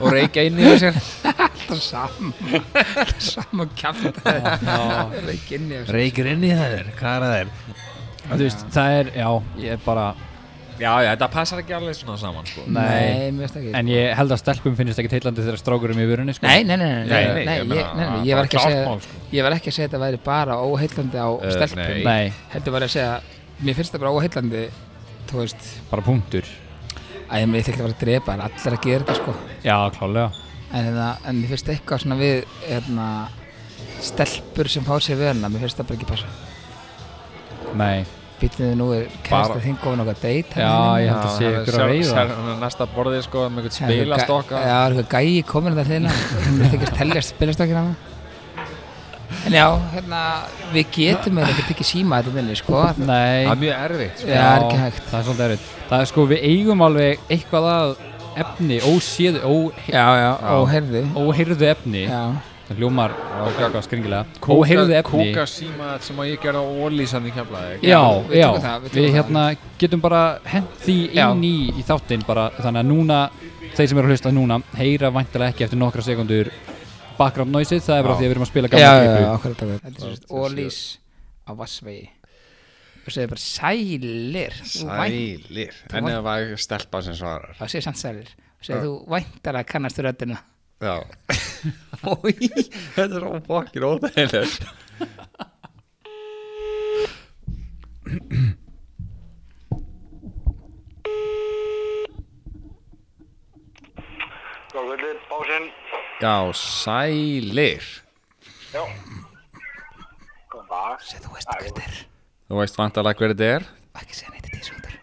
B: og reykja inn í sér
A: Þetta er saman [LAUGHS] Þetta er saman kjæft [LAUGHS] Það er ekki inn í þessu
B: reykir inn í þeir, hvað er það þeir
C: Þú veist, það er, já, ég er bara
B: já, já, þetta passar ekki alveg svona saman sko.
C: Nei.
A: Nei, mér veist ekki
C: En ég held að stelpum finnist ekki teillandi þegar strákurum í vörunni sko.
A: Nei, nei, nei, nei, nei,
B: Nei, nei,
A: nei, nei,
B: ég
A: ég,
B: meina,
A: nei, nei,
B: það
A: ég
B: er
A: var ekki að
B: klárt
A: segja
B: mál, sko.
A: Ég var ekki að segja að þetta væri bara óheillandi á
B: Eh,
A: stelpum
B: nei.
C: Nei,
A: Heldur var að segja, mér finnst það bara óheillandi Þú veist,
C: bara punktur
A: að ég með þetta ekki að vera að drepa En allir að gera þetta sko
C: Já, klálega
A: En, það, en mér finnst eitthvað svona við hérna, stelpur sem fá sér vörna, mér finnst það bara ekki passa.
C: Nei,
A: Býtum við nú er kærast að þinga ofan okkar date. hérna,
C: Já, ég held að sé
B: það er
C: ykkur að
B: sjálf-
C: veiða.
B: sjálf- hann er næsta borðið sko með einhvern spilastokka
A: Já, það er eitthvað gæi komin hérna. að það hliðina, hún er þykist teljast spilastokkina hana. En já, hérna, við getum með þetta ekki síma þetta minni, sko.
C: nei
B: það er mjög erfitt sko.
A: Já, það er ekki hægt.
C: Það er svolítið erfitt Það er sko, við eigum alveg eitthvað að efni, óséð, óhe
A: Já, já, og herðu.
C: óheyrðu efni
A: Já,
C: Það hljómar eitthvað skringilega
B: Kúka-
C: Óheyrðu efni
B: kúka síma þetta sem að ég gerði á ólísan í keflaði
C: Já,
A: Já, við
C: já,
A: tökum það, við
C: við,
A: tökum það.
C: hérna getum bara hent því inn í, í þáttinn bara þannig að núna, þeir sem eru að hlusta núna heyra væntalega ekki eftir nokkra sekundur background noise-ið, það er bara
B: Já.
C: því að við erum að spila
A: já,
C: gamla
A: já,
C: klipu
A: okkur þetta við. Þetta er sérst ólís á Vassvegi. Og segir bara sælir. þú vænt-
B: sælir en ef það var stelpa sem svarar
A: Það segir samt sælir. Og segir þú væntar að kannast röddina.
B: Já Í, Þetta er óbakir óþægilegt
E: Góðvöldin, básinn,
B: Já, sælir
E: já. Góðan dag.
A: Þú veist hvað þetta er.
B: Þú veist vantalega hver þetta er
A: Ekki segja neitt í þessu hundur.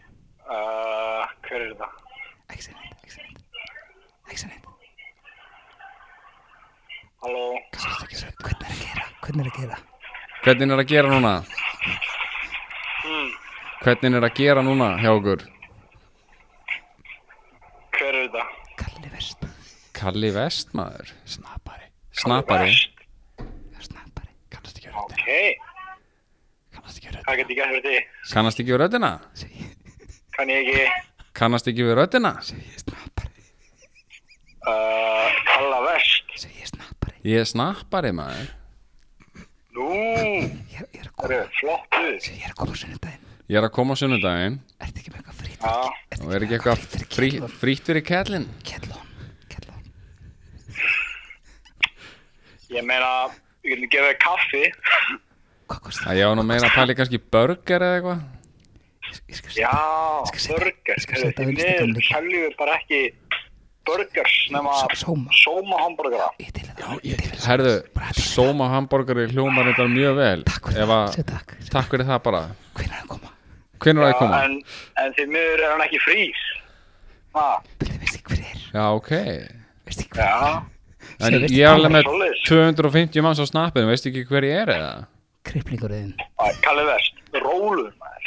E: Uh, hver er þetta?
A: Ekki segja neitt, ekki segja neitt. Ekki segja neitt.
E: Halló,
A: Kannski ekki segja. Hvernig er að gera? Hvernig er að gera?
B: Hvernig er að gera núna? Hvernig er að gera núna hjá okkur?
E: hver er þetta?
A: Kalli verst.
B: Kalli Vestmaður
A: Snabari.
B: Snappari
A: Snabari. Kannast ekki að
E: Ok,
A: Kannast ekki að
E: hvað get ég gert fyrir því?
B: Kannast ekki við röddina?
E: Kann ég ekki,
B: Kannast ekki við röddina?
A: Segir snabari.
E: uh, kalla verst.
A: Segir snabari.
B: Ég er snappari maður
E: Nú,
A: Ég er- ég er að
E: það
A: koma.
E: er flottu.
A: Ég er að koma á sunnudaginn.
B: Ég er að koma á sunnudaginn
A: Ertu ekki með eitthvað frýtt?
E: Já,
B: og er ekki eitthvað frí, frítt fyrir kallin
A: Kettlón. Kettlón.
E: ég meina, við getum gefið þér kaffi.
A: Hvað kosti það?
B: að ég á nú meira að pæli kannski burger eða eitthvað
A: Ég skal
E: Já,
A: setja. Skal setja-
E: burger.
A: skal setja á
E: Því
A: Instagram
E: miður
A: líka.
E: seljum við bara ekki burgers nema
A: Só- sóma.
E: sóma hamburgera.
A: Ég til það. Ég til það.
B: Herðu,
A: Bara til það.
B: sóma hambúrgari hljómar þetta mjög vel
A: Takk fyrir
B: Ef
A: það.
B: að-
A: Sér takk.
B: Takk fyrir það bara
A: Hvernig er að koma?
B: Hvernig er það að koma?
E: en, en því miður er hann ekki frýs. Ah,
A: Byrðu, veist ekki hver er?
B: Já, ok
A: Veist ekki hver er?
E: já,
B: En
A: Sér, veistu
B: ég er alveg
A: hvað?
B: með
E: Svoleiðis.
B: 250 manns á snappinu, veist ekki hver ég er eða?
A: Kriplingurinn.
E: Æ, Kalli vest, róluð maður.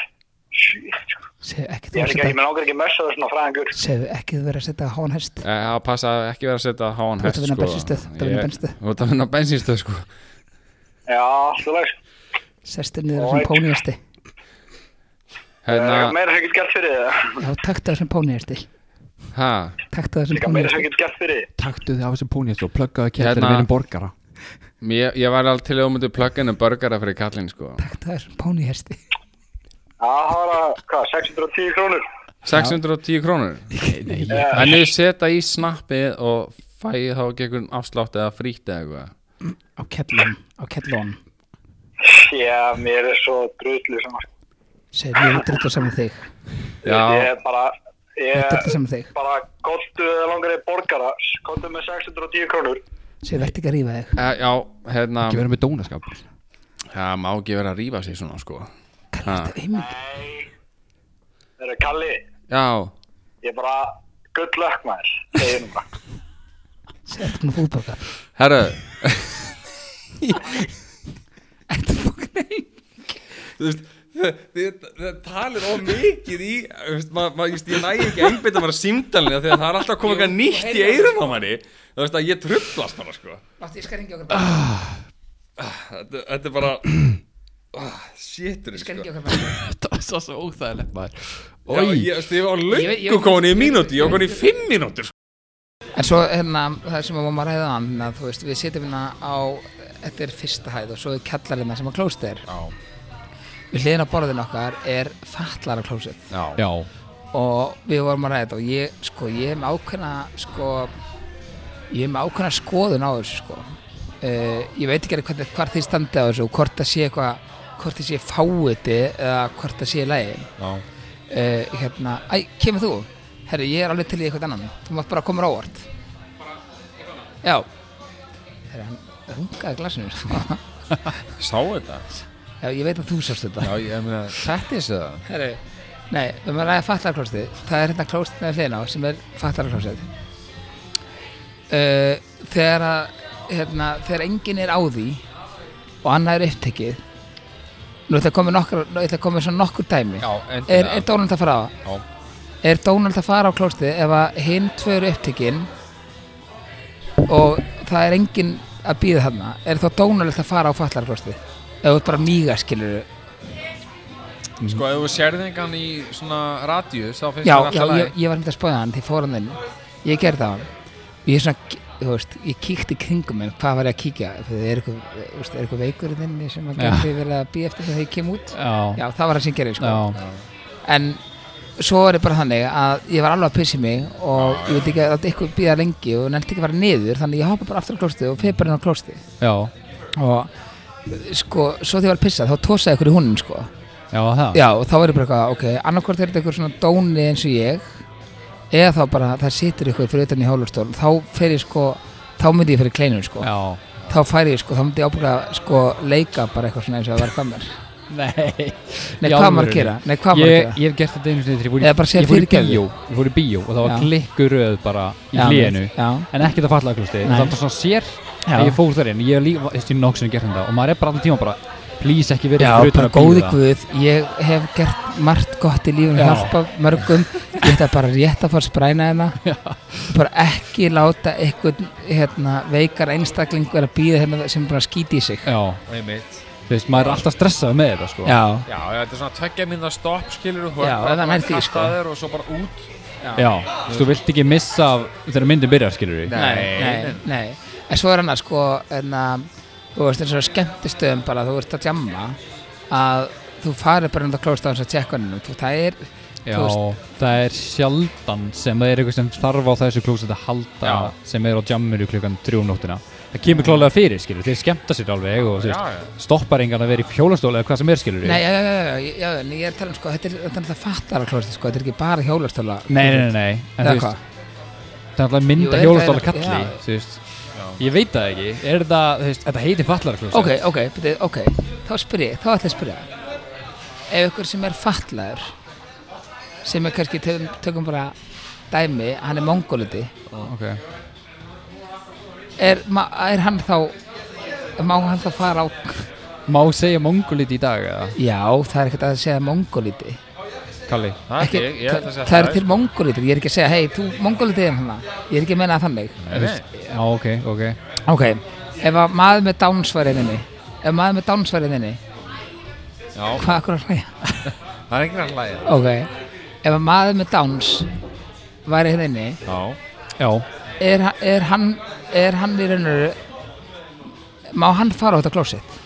E: Shit, sko.
A: Segðu ekki þú að
E: Ég er ekki, ég
A: setja
E: með langar ekki að messa þessu svona fræðingur.
A: Segðu ekki þú verið að setja hánhest
B: Eh, Það passa að ekki vera að setja háan
A: Þú ert
B: hest
A: að vinna bensínstöð, þú ert að vinna
B: sko. Ég-
A: bensínstöð.
B: Þú ert að vinna bensinstöð sko
E: Já, þú veist.
A: Sestir niður sem pónihesti
E: Það er
B: Hérna,
E: meira sem getur gert fyrir það.
A: Já, taktu það sem pónihesti
B: ha,
A: Taktu það sem
E: Líka meira sem
A: pónihesti
E: getur gert fyrir þið.
C: Taktu þið af þessu púnjast og pluggaðu kettir
B: Hérna-
C: hérna. vinnum borgara
B: ég, ég var alveg til að umöndu plugginum um burgara fyrir kallin sko
A: Taktu það sem pónihesti
E: Já, það var að, hvað, 610 krónur? Eh,
B: 610 krónur En ég setja í snappið og fæ þá ekki einhvern afslátt eða frítt eða eitthvað
A: Á kettlón, á kettlón
E: Já, mér er svo drullu saman.
A: Segðu, ég er drullu saman þig
E: Ég
B: Já,
E: er bara,
A: Ég er drullu
E: ég
A: saman þig
E: bara, gottu eða langar þið borgara, gottu með 610 krónur.
A: Segðu, verð ekki að rífa þig
B: eh, já, hérna
C: Ekki verið með dónaskap
B: Það má ekki vera að rífa sig svona sko
A: Kalli, þetta er einmikið
E: Nei. Þeirra, Kalli,
B: Já,
E: ég bara, good luck maður. Þegar bara.
A: Segðu, ertu búin að fútborga
B: herru
A: Ertu fokkin ein
B: Þú veist, þið- þið þið talir of mikið í þú veist, ma, ma, just, ég næ ekki að einbytta bara símdalinni þegar það er alltaf komið eitthvað nýtt í eyrun á manni þú veist að ég trublast bara sko
A: Mátti, ég skal ringi okkur bara
B: þetta, þetta er bara [CLEARS THROAT] ah, shitur
A: Ég skal
B: sko.
A: ringi okkur bara
C: Þetta var svo, svo óþægilegt maður
B: Já, ég, veist, ég var
A: Ég veit- ég
B: löngu
A: veit-
B: komin í mínúti ég var komin í fimm mínútur sko.
A: En svo hérna, það sem við varum að ræða hann, að, þú veist, við sitjum hérna á, þetta er fyrsta hæð og svo er kjallarinn sem að klóst er. Já. Við hliðin á borðin okkar er fatlara klósið
C: Já,
A: og við vorum að ræða þetta og ég, sko, ég hef með ákveðna, sko, ég hef með ákveðna skoðun á þessu, sko. Uh, ég veit ekki alveg hvað, hvað þið standi á þessu og hvort það sé eitthvað, hvort það sé fáiði eða hvort það sé lægin.
B: já,
A: Uh, hérna, æ, kemur þú? Herri, ég er alveg til í eitthvað annan. Þú mátt bara koma á óvart. Já. Herri, hann rungaði glasinu. [LAUGHS] Já,
B: sá þetta
A: ég veit að þú sást þetta.
B: já, ég meina, þetta er það
A: Herri, nei, við erum að ræða fatlarklóstið. Það er hérna klóstið með hliðina á sem er fatlarklóstið. Uh, þegar að, hérna, þegar enginn er á því og annað er upptekið, nú ætla að koma nokkur, nú ætla að koma með svona nokkur dæmi. er, er Donald að fara á?
B: Já.
A: Er Donald að fara á klóstið ef að hinn tvö eru upptekinn og það er enginn að býða þarna? Er þá Donald að fara á fallarklóstið? Ef þú ert bara mýga skilur
B: sko ef þú sérði engan í svona radius þá finnst
A: Já,
B: það
A: já,
B: alltaf
A: ég, ég var myndið að spáða hann því fór hann inn Ég gerði það á hann Ég er svona, þú veist, ég kíkti kringum en hvað var ég að kíkja? Það er eitthvað, þú veist, er eitthvað veikur þinn sem að
C: Já.
A: gæti verið að býja eftir þegar ég kem út
C: já,
A: Já, það var það sem gerði, sko
C: já.
A: En svo er ég bara þannig að ég var alveg að pissi mig og ég veit ekki að þetta eitthvað býða lengi og nefndi ekki að fara niður þannig ég hoppa bara aftur á klósti og feir bara inn á klósti
C: já,
A: og sko, svo þegar ég var að pissa þá tósaði ykkur í húnum sko
C: já, það
A: já og þá er ég bara eitthvað, ok, annarkvort er þetta ykkur svona dóni eins og ég eða þá bara það situr ykkur fyrir utan í hálfurstól þá fer ég sko, þá myndi ég fyrir kleinur sko
C: já.
A: þá færi ég sko, þá myndi ég ábúinlega sko leika bara eitthvað svona eins og það var kamer
C: Nei,
A: nei,
C: Í
A: hvað maður
C: alvörunni?
A: að gera, nei, hvað maður að
C: ég,
A: gera
C: ég hef gert þetta einu sinni þegar ég fór í-
A: Eða bara segja
C: ég fór í
A: fyrirgefðu.
C: bíó Ég fór í bíó og það var
A: Já.
C: klikkuröð bara [LAUGHS] í
A: Já,
C: hlénu
A: já.
C: En ekkert að falla aðklusti
A: Nei.
C: Það var svona sér
A: Já.
C: að ég fór þar inn Ég hef líka, veist, ég hef nokksinu gert þetta Og maður er bara allan tíma bara Please ekki verið
A: Já,
C: fyrir utan
A: bara
C: að
A: góði
C: bíða.
A: guð, ég hef gert margt gott í lífinu,
C: Já.
A: hjálpa mörgum, ég ætla bara rétt að fara að spræna
C: [LAUGHS]
A: hérna, bara ekki láta einhvern hérna, veikar einstakling vera að býða hérna sem er bara að skýti í sig.
C: Já,
B: Einmitt.
C: þú veist, maður er alltaf stressað með þetta sko
A: Já,
B: Já, já, þetta er svona tveggja minna stopp, skilur þú,
A: Já,
B: bara
A: það
B: að
A: nær því, sko.
B: kasta þér og svo bara út.
C: Já, þú veist, þú vilt ekki missa af þegar myndin byrjar, skilur við
A: nei, nei, nei. En svo er hann að sko, hérna, þú veist eins og skemmtistöðum bara, þú ert að jamma, að þú farir bara um það klóðst á hans að tjekka hann, þú það er,
C: Já,
A: þú
C: það er sjaldan sem það er eitthvað sem þarf á þessu klóset að halda
B: Já.
C: sem er á jamminu klukkan 3 nóttina Það kemur klálega fyrir, skilur, þeir skemmta sér alveg og þú
B: Já,
C: veist,
B: já.
C: stoppar engan að vera í fjólastóli eða hvað sem er, skilur
A: nei, já, já, já, já, já, já, en ég er að tala um sko, þetta er, þetta er alltaf fattar að klóðst, sko, þetta er ekki bara hjólastöla.
C: nei, nei, nei, nei. En,
A: Eða
C: þú
A: hvað?
C: veist, það er alltaf að
A: Jú,
C: mynda
A: er
C: hjólastóla
A: það-
C: kalli
A: já.
C: þú veist, Ég veit það ekki, er það, þú veist, þetta heitir fallara klóset
A: Ok, ok, byrju, ok, þá spyr ég, þá ætla ég að spyrja Ef ykkur sem er fatlaður sem er kannski, tökum, tökum bara dæmi, hann er mongoliti
C: okay.
A: er, ma- er hann þá má hann þá fara á
C: Má segja mongolít í dag eða,
A: Já, það er ekkert að segja mongoliti
C: Kalli?
B: Það er ekki, ég ætla að segja sko.
A: Það er til mongoliti, ég er ekki að segja, hei, þú mongoliti er hann Ég er ekki að menna það þannig
B: Nei, nei.
C: Já, ok, ok
A: Ok, ef að maður með dánsvariðinni ef maður með dánsvariðinni
B: Já,
A: hvað akkur að hlæja?
B: það er enginn að hlæja.
A: Ok, ef að maður með Downs væri hérna inni,
B: Já.
C: Já,
A: er, ha- er, hann, er hann í raun og veru, má hann fara á þetta klósett?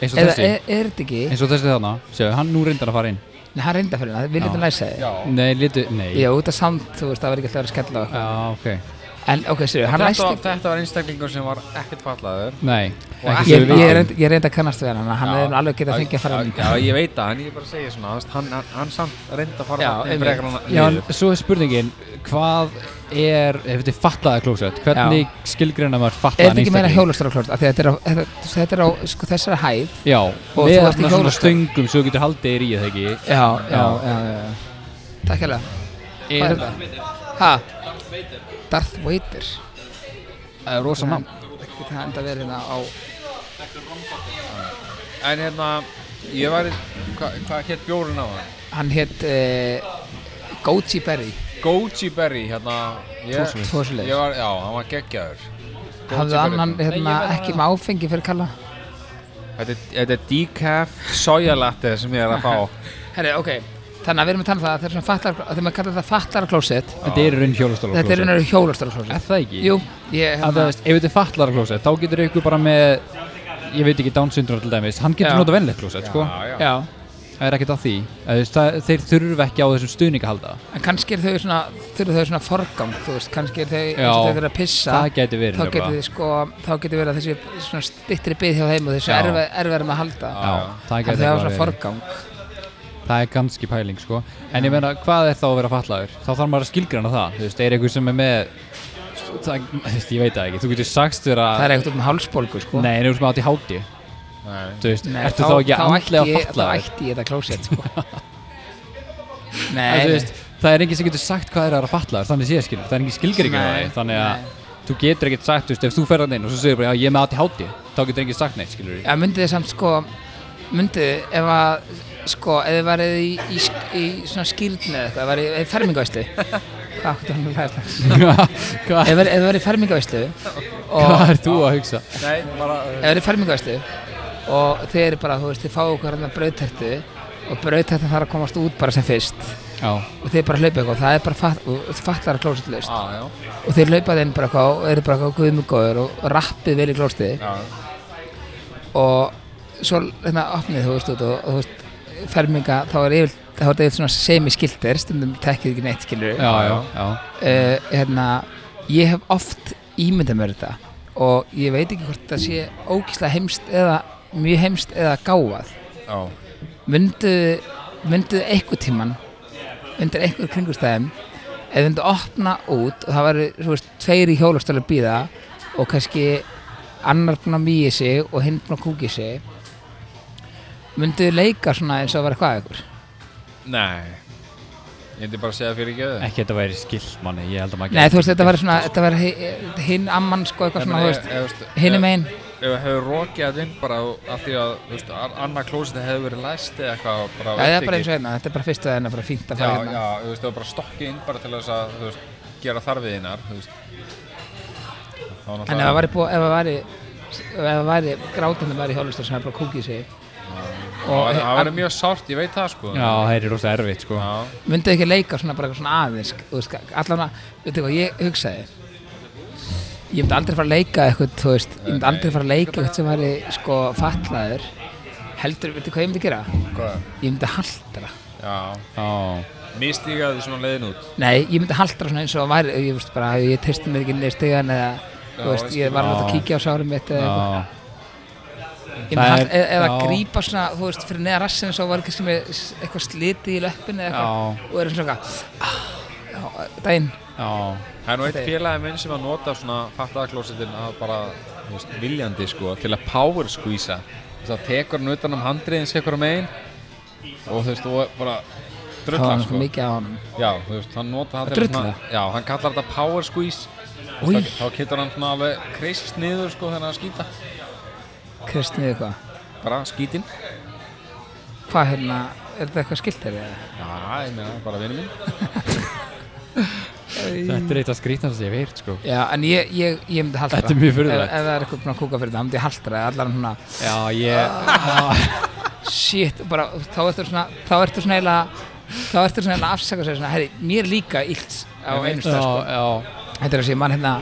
C: eins og
A: Eða e-
C: þessi
A: er, er þetta ekki,
C: eins og þessi þarna, séu, hann nú reyndar að fara inn
A: Nei, hann reynda fyrir hann, við
C: Já.
A: lítum læsa þig.
C: Nei, litu, nei
A: Já, út af samt, þú veist, það var ekki alltaf að vera að skella á okkur.
C: Já, ok
A: En ok, sér, hann
B: Þetta,
A: læst
B: var- þetta var einstaklingur sem var ekkert fallaður.
C: Nei, ekki
A: Ég,
C: sem við
A: ég,
C: vitum
A: reynd, ég reynda að kannast við hann, hann
B: Já.
A: hefur alveg getað
B: Já,
A: fengið að fara hann.
B: Já, já, ég veit það, en ég er bara að segja svona, þú veist, hann, hann, hann samt reyndi að fara
A: Já,
B: þarna
A: einmitt.
B: frekar hann að-
C: Já, en svo er spurningin, hvað er, ef þetta er fallaða klósett, hvernig skilgreina maður
A: Er
C: fallaða
A: þetta ekki meira hjólastur á klósett? Af því að Þetta er á, þetta, þetta er á sko, þessara hæð.
C: Já,
A: þú
C: með
A: ert í
C: þarna svona
A: hjólastól.
C: stöngum svo þú getur haldið þér í eða ekki
A: Já, já, já, já. já. Takk hérlega. Hvað er þetta? Ha? Darth Vader.
C: Það er rosa mann
A: Ekki það enda verið hérna á
B: En hérna, ég var, í- hvað hva hétt bjórinn á hann?
A: Hann hétt uh, Goji Berry
B: Goji Berry, hérna, ég,
A: Tvo svoleiðis.
B: ég var, já, hann var geggjaður.
A: Hafðu
B: Berry.
A: annan hérna, ekki með áfengi fyrir kalla
B: Þetta er, þetta er decaf sojalatte sem ég er að
A: [LAUGHS]
B: fá.
A: Herri, ok Þannig að við erum að tala um það að það er svona fatlar Þegar maður kallar þetta fatlar klósett
C: Þetta er í raun hjólastóla
A: Þetta er
C: klósett
A: hennar hjólastar klósett
C: Er það ekki?
A: Jú, ég
C: Að
A: hérna
C: það veist, ef þetta er fallaða klósett, þá getur ykkur bara með, ég veit ekki, Down syndrome til dæmis, hann getur
A: Já.
C: notað venlegt klósett, sko
B: já.
A: Já,
C: Það er ekkert að því Eða, þú veist, það, Þeir þurfa ekki á þessum stuðning að halda
A: en kannski er þau svona Þurfa þau svona forgang, þú veist Kannski er þau,
C: Já.
A: eins og þau þurfa að pissa
C: Það gæti
A: Þá
C: verið nefnilega.
A: getur þið sko, þá getur verið að þessi svona stittri byð hjá þeim og þessu
C: Já.
A: erfa- erfiðara með að halda
C: Já, það
A: Þannig að
C: gæti
A: þau hafa
C: eitthvað
A: svona
C: verið.
A: forgang
C: Það er ganski pæling sko En ég meina, hvað er þá að vera fatlaður? Þá þarf maður að skilgrana það Þú veist, er einhver sem er með það, þú veist, Ég veit það ekki, þú getur sagst vera
A: Það er ekkert um hálsbólgu sko
C: Nei, en þú veist með átt í háti
B: Nei.
C: Þú veist,
A: Nei,
C: ertu þá, ekki andlega
A: ætti ég- Þá
C: fatlaður?
A: ætti ég þetta klósett
C: [LAUGHS]
A: sko.
C: En
A: Nei,
C: þú veist, það er enginn sem getur sagt hvað er að vera fatlaður Þannig sé skilur, það er enginn skilgreikin á
A: Nei,
C: því Þannig
A: nei.
C: að þú getur ekkert sagt, þú veist, ef þú ferðan inn og svo segir bara, já, ég er með átt í Þá getur enginn sagt neitt, skilur
A: ja, myndið þið samt sko myndið þið ef að sko, ef þið værið í, í, sk- í svona skýrni eða eitthvað, ef þið værið í fermingavæslu
C: [LAUGHS]
A: hvað áttu hann að læra það?
C: [LAUGHS] Hvað
A: Ef þið værið- ef þið værið í fermingavæslu og
C: hvað er þú að hugsa?
B: Nei, bara, eh,
A: ef þið værið í fermingavæslu og þið eru bara, þú veist, þið fáið okkur hann að brauðtertu og brauðtertu þarf að komast út bara sem fyrst
C: Já,
A: og þið bara hlaupið eitthvað, það er bara fatt, fattar að klósetlaust
B: á, já,
A: og þeir laupað inn bara eitthvað og eru bara eitthvað guðmugóður og og rappið vel í klóstiði
B: já.
A: og svo hérna opnið þú veist út og, og þú veist ferminga þá er yfir, þá er þetta yfir svona semiskiltir stundum tekkið ekki neitt skilur
C: já, já, já.
A: hérna, ég hef oft ímyndað mér þetta og ég veit ekki hvort það sé ókísla heimst eða mjög heimst eða gáfað
B: Já,
A: mynduðu mynduðu einhver tíman undir einhver kringustæðum eða myndu opna út og það væri svo veist, tveir í hjólastölu að býða og kannski annar búinn að mýja sig og hinn búinn að kúkja sig mynduðu leika svona eins og það væri hvað ykkur
B: nei Ég hefði bara að segja fyrir ekki
C: Ekki þetta væri skilt manni, ég held að maður
A: Nei, þú veist, þetta væri svona, þetta væri hi- hinn amman sko eitthvað svona, þú veist, hinn um einn
B: Ef við hefur rokið þetta inn bara af því að þú veist, an- annað klósið hefur verið læst eða eitthvað og
A: Já,
B: bara
A: það
B: veit
A: er bara
B: ekki.
A: eins og hérna, þetta er bara fyrst að hérna, bara fínt að
B: Já,
A: fara
B: já,
A: hérna
B: þú veist, það var bara stokkið inn bara til þess að, þú veist, gera þarfiðinnar, þú veist. Þá var
A: En ef það væri búið, ef það væri ef það væri grátandi væri hjólastölu sem er bara að kúkja sig
B: og
A: og-
B: það væri mjög sárt, ég veit það, sko.
C: Já, það er rosa erfitt sko
B: Já,
A: myndið ekki leika svona bara eitthvað svona aðeins þú veist, allan að, veitu hvað, ég hugsaði ég myndi aldrei fara að leika eitthvað, þú veist, ég myndi aldrei fara að leika eitthvað sem væri, sko, fatlaður heldur, veitu hvað ég myndi gera
B: hvað?
A: ég myndi haldra,
B: Já,
C: Já,
B: místíkaði svona leiðin út.
A: nei, ég myndi haldra svona eins og það væri, ég veist bara, ég testi mér ekki niður stegan eða,
B: Já,
A: þú veist,
B: ég
A: ég var alveg að
C: Já.
A: kíkja á sárum mitt eða eitthvað
C: já,
A: Ég myndi
C: Það er-
A: hald- eða- eða
C: já.
A: grípa svona, þú veist, fyrir neða rassin eins og var kannski með s- eitthvað sliti í löppin eða eitthvað
C: já,
A: og er svona eitthvað ah, já, daginn
C: já
B: Það er nú eitt
A: Þeir-
B: félagi minn sem að nota svona fattaðaklósitin að bara, þú veist, viljandi, sko, til að power squeeza. Þú veist, það tekur hann utan um handriðins eitthvað megin og, þú veist, og bara
A: þá var
B: drullar,
A: hann
B: sko.
A: mikið á honum
B: Já, þú veist, hann nota það
A: Að
B: til
A: drulla?
B: Já, hann kallar þetta power squeeze
A: Új.
B: Þá- Þá getur hann svona alveg kreist niður sko þegar hann skýta
A: kristnið eitthvað
B: Bara skýtin
A: Hvað hérna, er þetta eitthvað skilt þér eða?
B: Já, ég meina, bara vinur minn
C: Þetta er eitt af skrítnast sem ég veit sko
A: Já, en ég, ég, ég myndi haldra
C: Þetta er mjög furðulegt.
A: Ef, ef það er eitthvað búin að kúka fyrir það, myndi ég haldra eða allan svona
C: Já, ég,
A: Shit, bara, þá ertu svona, þá ertu svona eila Þá ertu svona eila að afsaka sig svona Herri, mér er líka illt á
B: Ég veit
A: einu
C: já,
A: stað sko.
C: já
A: Þetta er þess að ég man hérna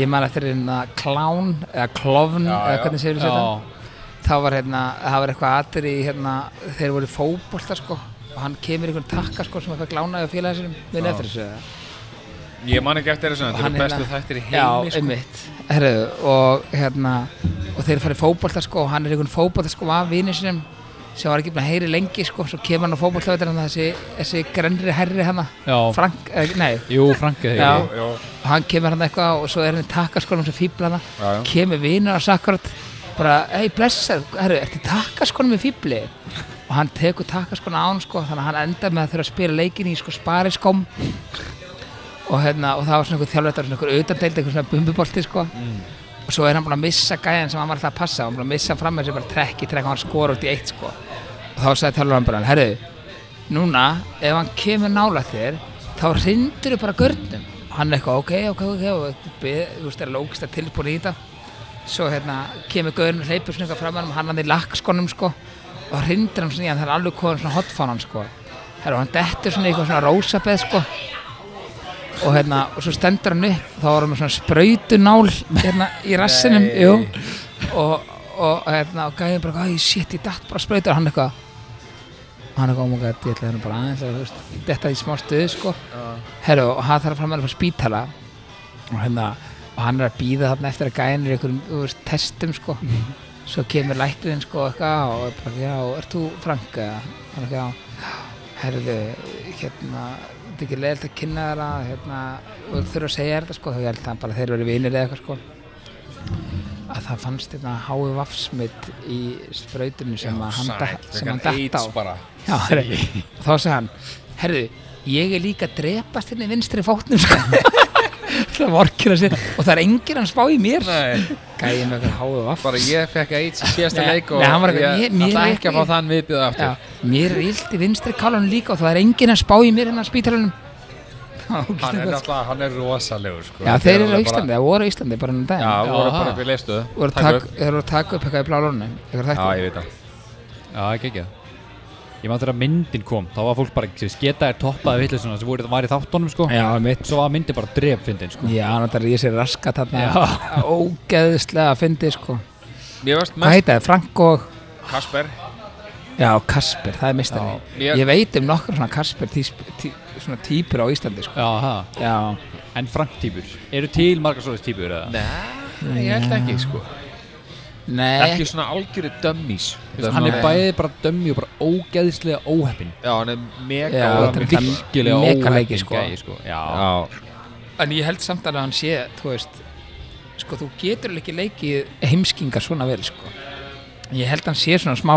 A: Ég man eftir hérna klán eða klofn
B: Já,
A: eða
B: já.
A: hvernig segir þetta
C: Já,
A: þá var hérna, það var eitthvað aðri hérna, þeir voru í fótbolta sko og hann kemur í einhvern takka sko sem að fæk lánaði á félagið sinum, minn eftir þessu eða?
B: Ég man ekki eftir þessu, en þetta
A: hann
B: eru bestu
A: hérna-
B: þættir í
A: Já,
B: heimi sko.
A: einmitt Herru, og hérna og þeir farið fótbolta sko og hann er einhvern fótbolta sko af vinið sinum sem var ekki búin að heyri lengi sko svo kemur hann á fótbolta þetta þessi, þessi grenri herri hana
C: já
A: Frank, eh, nei,
C: Jú, Frankið
A: Já.
C: þegar
B: Jú,
A: og hann kemur hann eitthvað og svo er hann í takkaskónum sem fýbla hana
B: já, já.
A: kemur vinur hans akkurat bara, hei blessar, herru, ertu í takkaskónum í fýbli? og hann tekur takkaskónu á hann sko, þannig að hann endar með að þurfa að spila leikin í sko spariskóm og hérna, og það var svona einhver þjálfættar svona einhver utandeild, einhver svona bumbubolti sko
B: Mm.
A: og svo er hann búin að missa gæjan sem hann var alltaf að passa hann búin að missa fram með sér bara trekk í trekk og hann skora út í eitt sko og þá sagði þjálfættar bara, herru núna, ef hann kemur nálægt þér þá hrindur bara görnum hann er eitthvað, ok, ok, ok og beð- þú veist, er lókist að tilbúin í þetta svo hérna kemur gaurinn og hleypur svona eitthvað fram að hann hann í lakkskónum sko og hrindir hann svona í hann, það er alveg komin svona hotfánan sko Heru, hann dettur svona í eitthvað svona rósabeð sko og hérna og svo stendur hann upp þá var hann með svona sprautunál hérna í rassinum
B: Nei.
A: jú, og, og hérna og gæði bara, "Æ, shit, ég datt bara sprautur og hann eitthvað hann er góðum og gæti, ég ætla hérna bara aðeins að þú veist, detta í smá stuðu sko Herru, og hann þarf að framhæða frá spítala og, hérna, og hann er að býða þarna eftir að gæðin er einhverjum þú veist, testum sko. svo kemur læknirinn sko, eitthvað, og er bara, já, ert þú Frank? eða?" Hann er ekki á herðu, hérna þetta er ekki leiðilt að kynna þeirra hérna, og þurfa að segja þér þetta sko, þá ég held að bara þeir verið vinir eða eitthvað sko. að það fannst hérna hái vafsmitt í sprautunni sem, að hann, datt- sem hann datt á
B: bara
A: Já, herri, og þá sagði hann herðu, ég er líka að drepast hérna í vinstri fótnum [LAUGHS] sko. það var orkina sér og það er enginn að spá í mér
B: Nei,
A: gæði með eitthvað háðu vaff
B: bara ég fekk AIDS í síðasta
A: Nei,
B: leik og
A: nei, hann var
B: ég
A: eitthvað, mér- mér
B: ætla
A: er
B: ekki að
A: ekki-
B: fá þann viðbjöð
A: Já,
B: aftur
A: mér er illt í vinstri kálunum líka og það er enginn að spá í mér hérna á spítalunum
B: [LAUGHS] Hann er
A: já,
B: náttúrulega, hann er rosalegur sko.
A: þeir eru á
B: alveg bara-
A: Íslandi, það voru á Íslandi bara ennum
B: Já,
A: daginn
B: voru
C: Já,
B: bara
C: það.
B: upp í leistuðu
A: Voru að taka- þeir voru að taka upp eitthvað í blá lónu
B: Já, ég veit það
C: Já, ekki ekki Ég maður þegar myndin kom, þá var fólk bara sem sketa er toppaði vitlega svona sem voru var í þáttunum sko
A: já, mitt
C: Svo var myndin bara dref fyndin sko
A: já, náttúrulega ég sé raskat þarna
C: Já.
A: ógeðslega að fyndi sko
B: Mér varst
A: hvað
B: mest
A: heita þið, Frank og
B: Kasper
A: Já, Kasper, það er meistari
B: Já, ég-
A: Ég veit um nokkra svona Kasper tí, tí, svona típur á Íslandi sko.
C: Já, það.
A: Já,
C: En franktýpur. Eru til margar svoleiðis týpur eða?
B: Nei, ég held ekki sko
A: nei
B: Ekki svona algjöru dummies
C: Hann er bæði bara dömmi og bara ógeðslega óheppin.
B: Já, hann er mega
A: Já,
B: óheppinn.
A: þetta er
C: Virkilega
A: mekaleiki,
C: óheppin
A: sko.
C: gæi, sko. Já.
B: Já,
A: En ég held samt alveg að hann sé, þú veist Sko, þú getur alveg ekki leikið heimskingar svona vel, sko Ég held að hann sé svona smá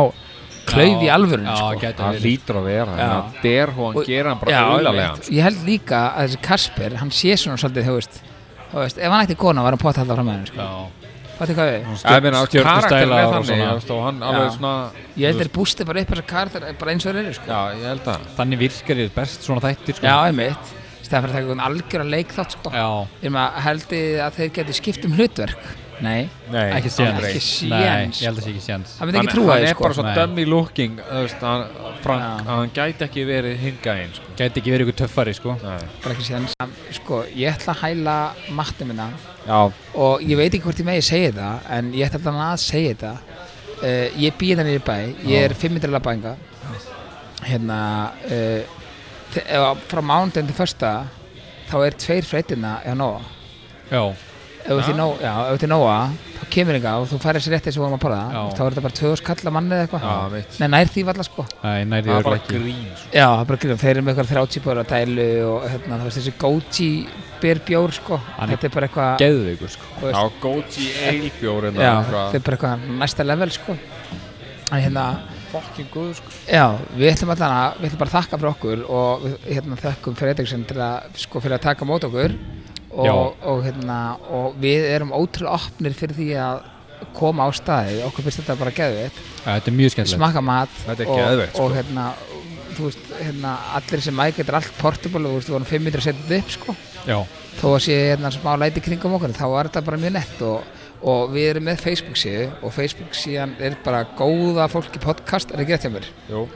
A: klauf í
C: Já,
A: alvörunni,
C: já,
A: sko
C: gæti
B: hann
C: verið.
B: lítur að vera
A: Já.
B: hann der og hann
A: Og-
B: gera hann bara auðalega
A: einmitt. Ég held líka að þessi Kasper, hann sé svona svolítið, þú veist Þú veist, ef hann ætti kona var hann pott alltaf fram með hann, sko
C: Já.
A: Fattu hvað við?
B: Já, ég meina, karakterin
C: stjörnustæla
B: Sko, er
C: og
B: þannig
C: svona.
B: þú veist, og hann
A: Já.
B: alveg svona
A: Ég held þeir bústi bara upp þessa karakter bara eins og þeir eru, sko
B: Já, ég held að
C: Þannig virkar ég best svona þættir, sko.
A: Já, einmitt Stæðan fyrir að taka einhvern algjör að leik þátt, sko
C: Já.
A: Ég maður heldið að þeir geti skipt um hlutverk Nei,
B: Nei,
C: Ekki séns.
A: Ekki séns,
C: Nei,
A: sko.
C: ég held að sé ekki séns.
A: það myndi
B: Hann,
A: ekki trúa
B: hann
A: því,
B: er
A: sko
B: bara svo
C: Nei.
B: dummy looking þú veist, hann, Frank,
A: Já.
B: að hann gæti ekki verið hingað einn sko.
C: Gæti ekki verið ykkur töffari, sko.
A: Bara ekki séns. Sko, ég ætla að hæla matni minna
B: Já,
A: og ég veit ekki hvort ég megi segja það en ég ætla allan að segja þetta uh, ég býð þannig í bæ, ég er 500 labbænga hérna uh, þe- ef- frá mánudaginn til första þá er tveir freytina eða nóa
C: Já.
A: ef þú ert í Nó- já, ef þú ert í nóa þá kemur ykkar og þú færir sér rétt eins og vorum að borða
C: Já.
A: þá er þetta bara 2000 kalla manni eða
B: já,
A: eitthvað
B: mitt
A: Nei, nær því valla sko
C: Nei,
B: Það
C: nærið
B: er
C: verið
B: bara
C: ekki.
B: grín sko.
A: Já, það er bara gríðan, þeir eru með eitthvað 30 bóra dælu og hérna, þú veist þessi goji beer bjór sko
C: Hann er
A: Þetta er bara eitthvað
C: Geðveikur, sko.
A: þú veist,
B: Já, Goji Eilbjór
A: Já, þetta er bara eitthvað næsta level sko En hérna,
B: fokkin góð sko.
A: já, við ætlum allan að, við ætlum bara að þakka fyrir okkur og við, hérna þökkum Fredriksson til að, sko, fyrir að taka á mót okkur
C: Já.
A: og, og hérna, og við erum ótrúlega opnir fyrir því að koma á staði, okkur finnst þetta bara geðvitt,
C: Já, Þetta er mjög skemmtilegt.
A: smaka mat
B: Þetta er
A: og,
B: geðveikt, sko.
A: og hérna, þú veist, hérna, allir sem mæk, þetta er allt portable, þú veist, við vorum 500 að setja þetta upp sko
C: Já.
A: þó að sé hérna smá læti kringum okkur þá var þetta bara mjög nett og, og við erum með Facebook síðu og Facebook síðan er bara góða fólki podcast er ekki rétt hjá mér
B: Jú,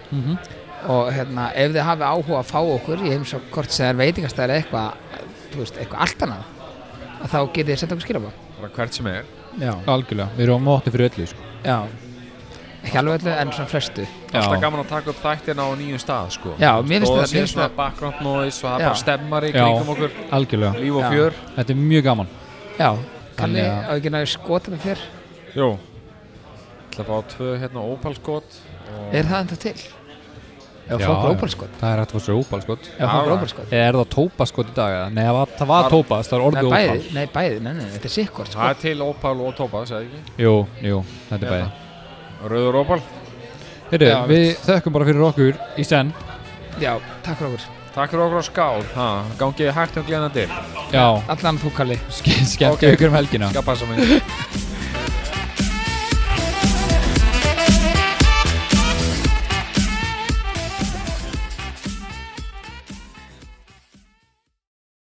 A: og hérna ef þið hafi áhuga að fá okkur ég heimsók hvort sem það er veitingastæðar eða eitthvað þú veist, eitthvað allt annað að þá getið þið sett okkur skilabá
B: bara hvert sem er
A: já.
C: Algjörlega. Við erum á móti fyrir öllu, sko.
A: já ekki alveg öllu en svona flestu
B: Alltaf gaman að taka upp þættina á nýjum stað sko.
A: Já, mér finnst
B: Þó
A: þetta-
B: það sé
A: mér finnst
B: svona
A: þetta-
B: background noise og það
A: Já.
B: bara stemmar í
C: Já.
B: kringum okkur
C: Algjörlega.
B: Líf og
A: Já.
B: fjör
C: Þetta er mjög gaman.
A: já Kalli,
C: Þannig að-
A: á ekki náðu skota með þér
B: Jú ætla að fá tvö hérna opalskot og...
A: er það enda til? ef
C: Já,
A: fólk er
C: já.
A: óbálskot
C: Það er hægt að fá sér óbalskot.
A: ef fólk er
B: Já.
A: óbálskot
C: Eða er það tópaskot í dag? eða? Nei, það var- það var
B: Var-
C: tópas, það er
A: Nei,
C: orðið
A: bæði,
C: óbal.
A: nei, bæði, nei, nei, þetta er sikkort
B: Það
A: sko.
B: er til opal og tópa, segði ekki
C: Jú, jú, þetta
B: Já.
C: er bæði.
B: Rauður opal
C: Heyrðu,
A: Já,
C: við þökkum bara fyrir okkur í senn.
A: Já, takk fyrir okkur
B: Takk fyrir okkur á skál ha, Gangiði hægt og gleðandi
C: Já,
A: Allan þú Kalli
C: skemmt
B: Ok.
C: ykkur um helgina.
B: Skappa sem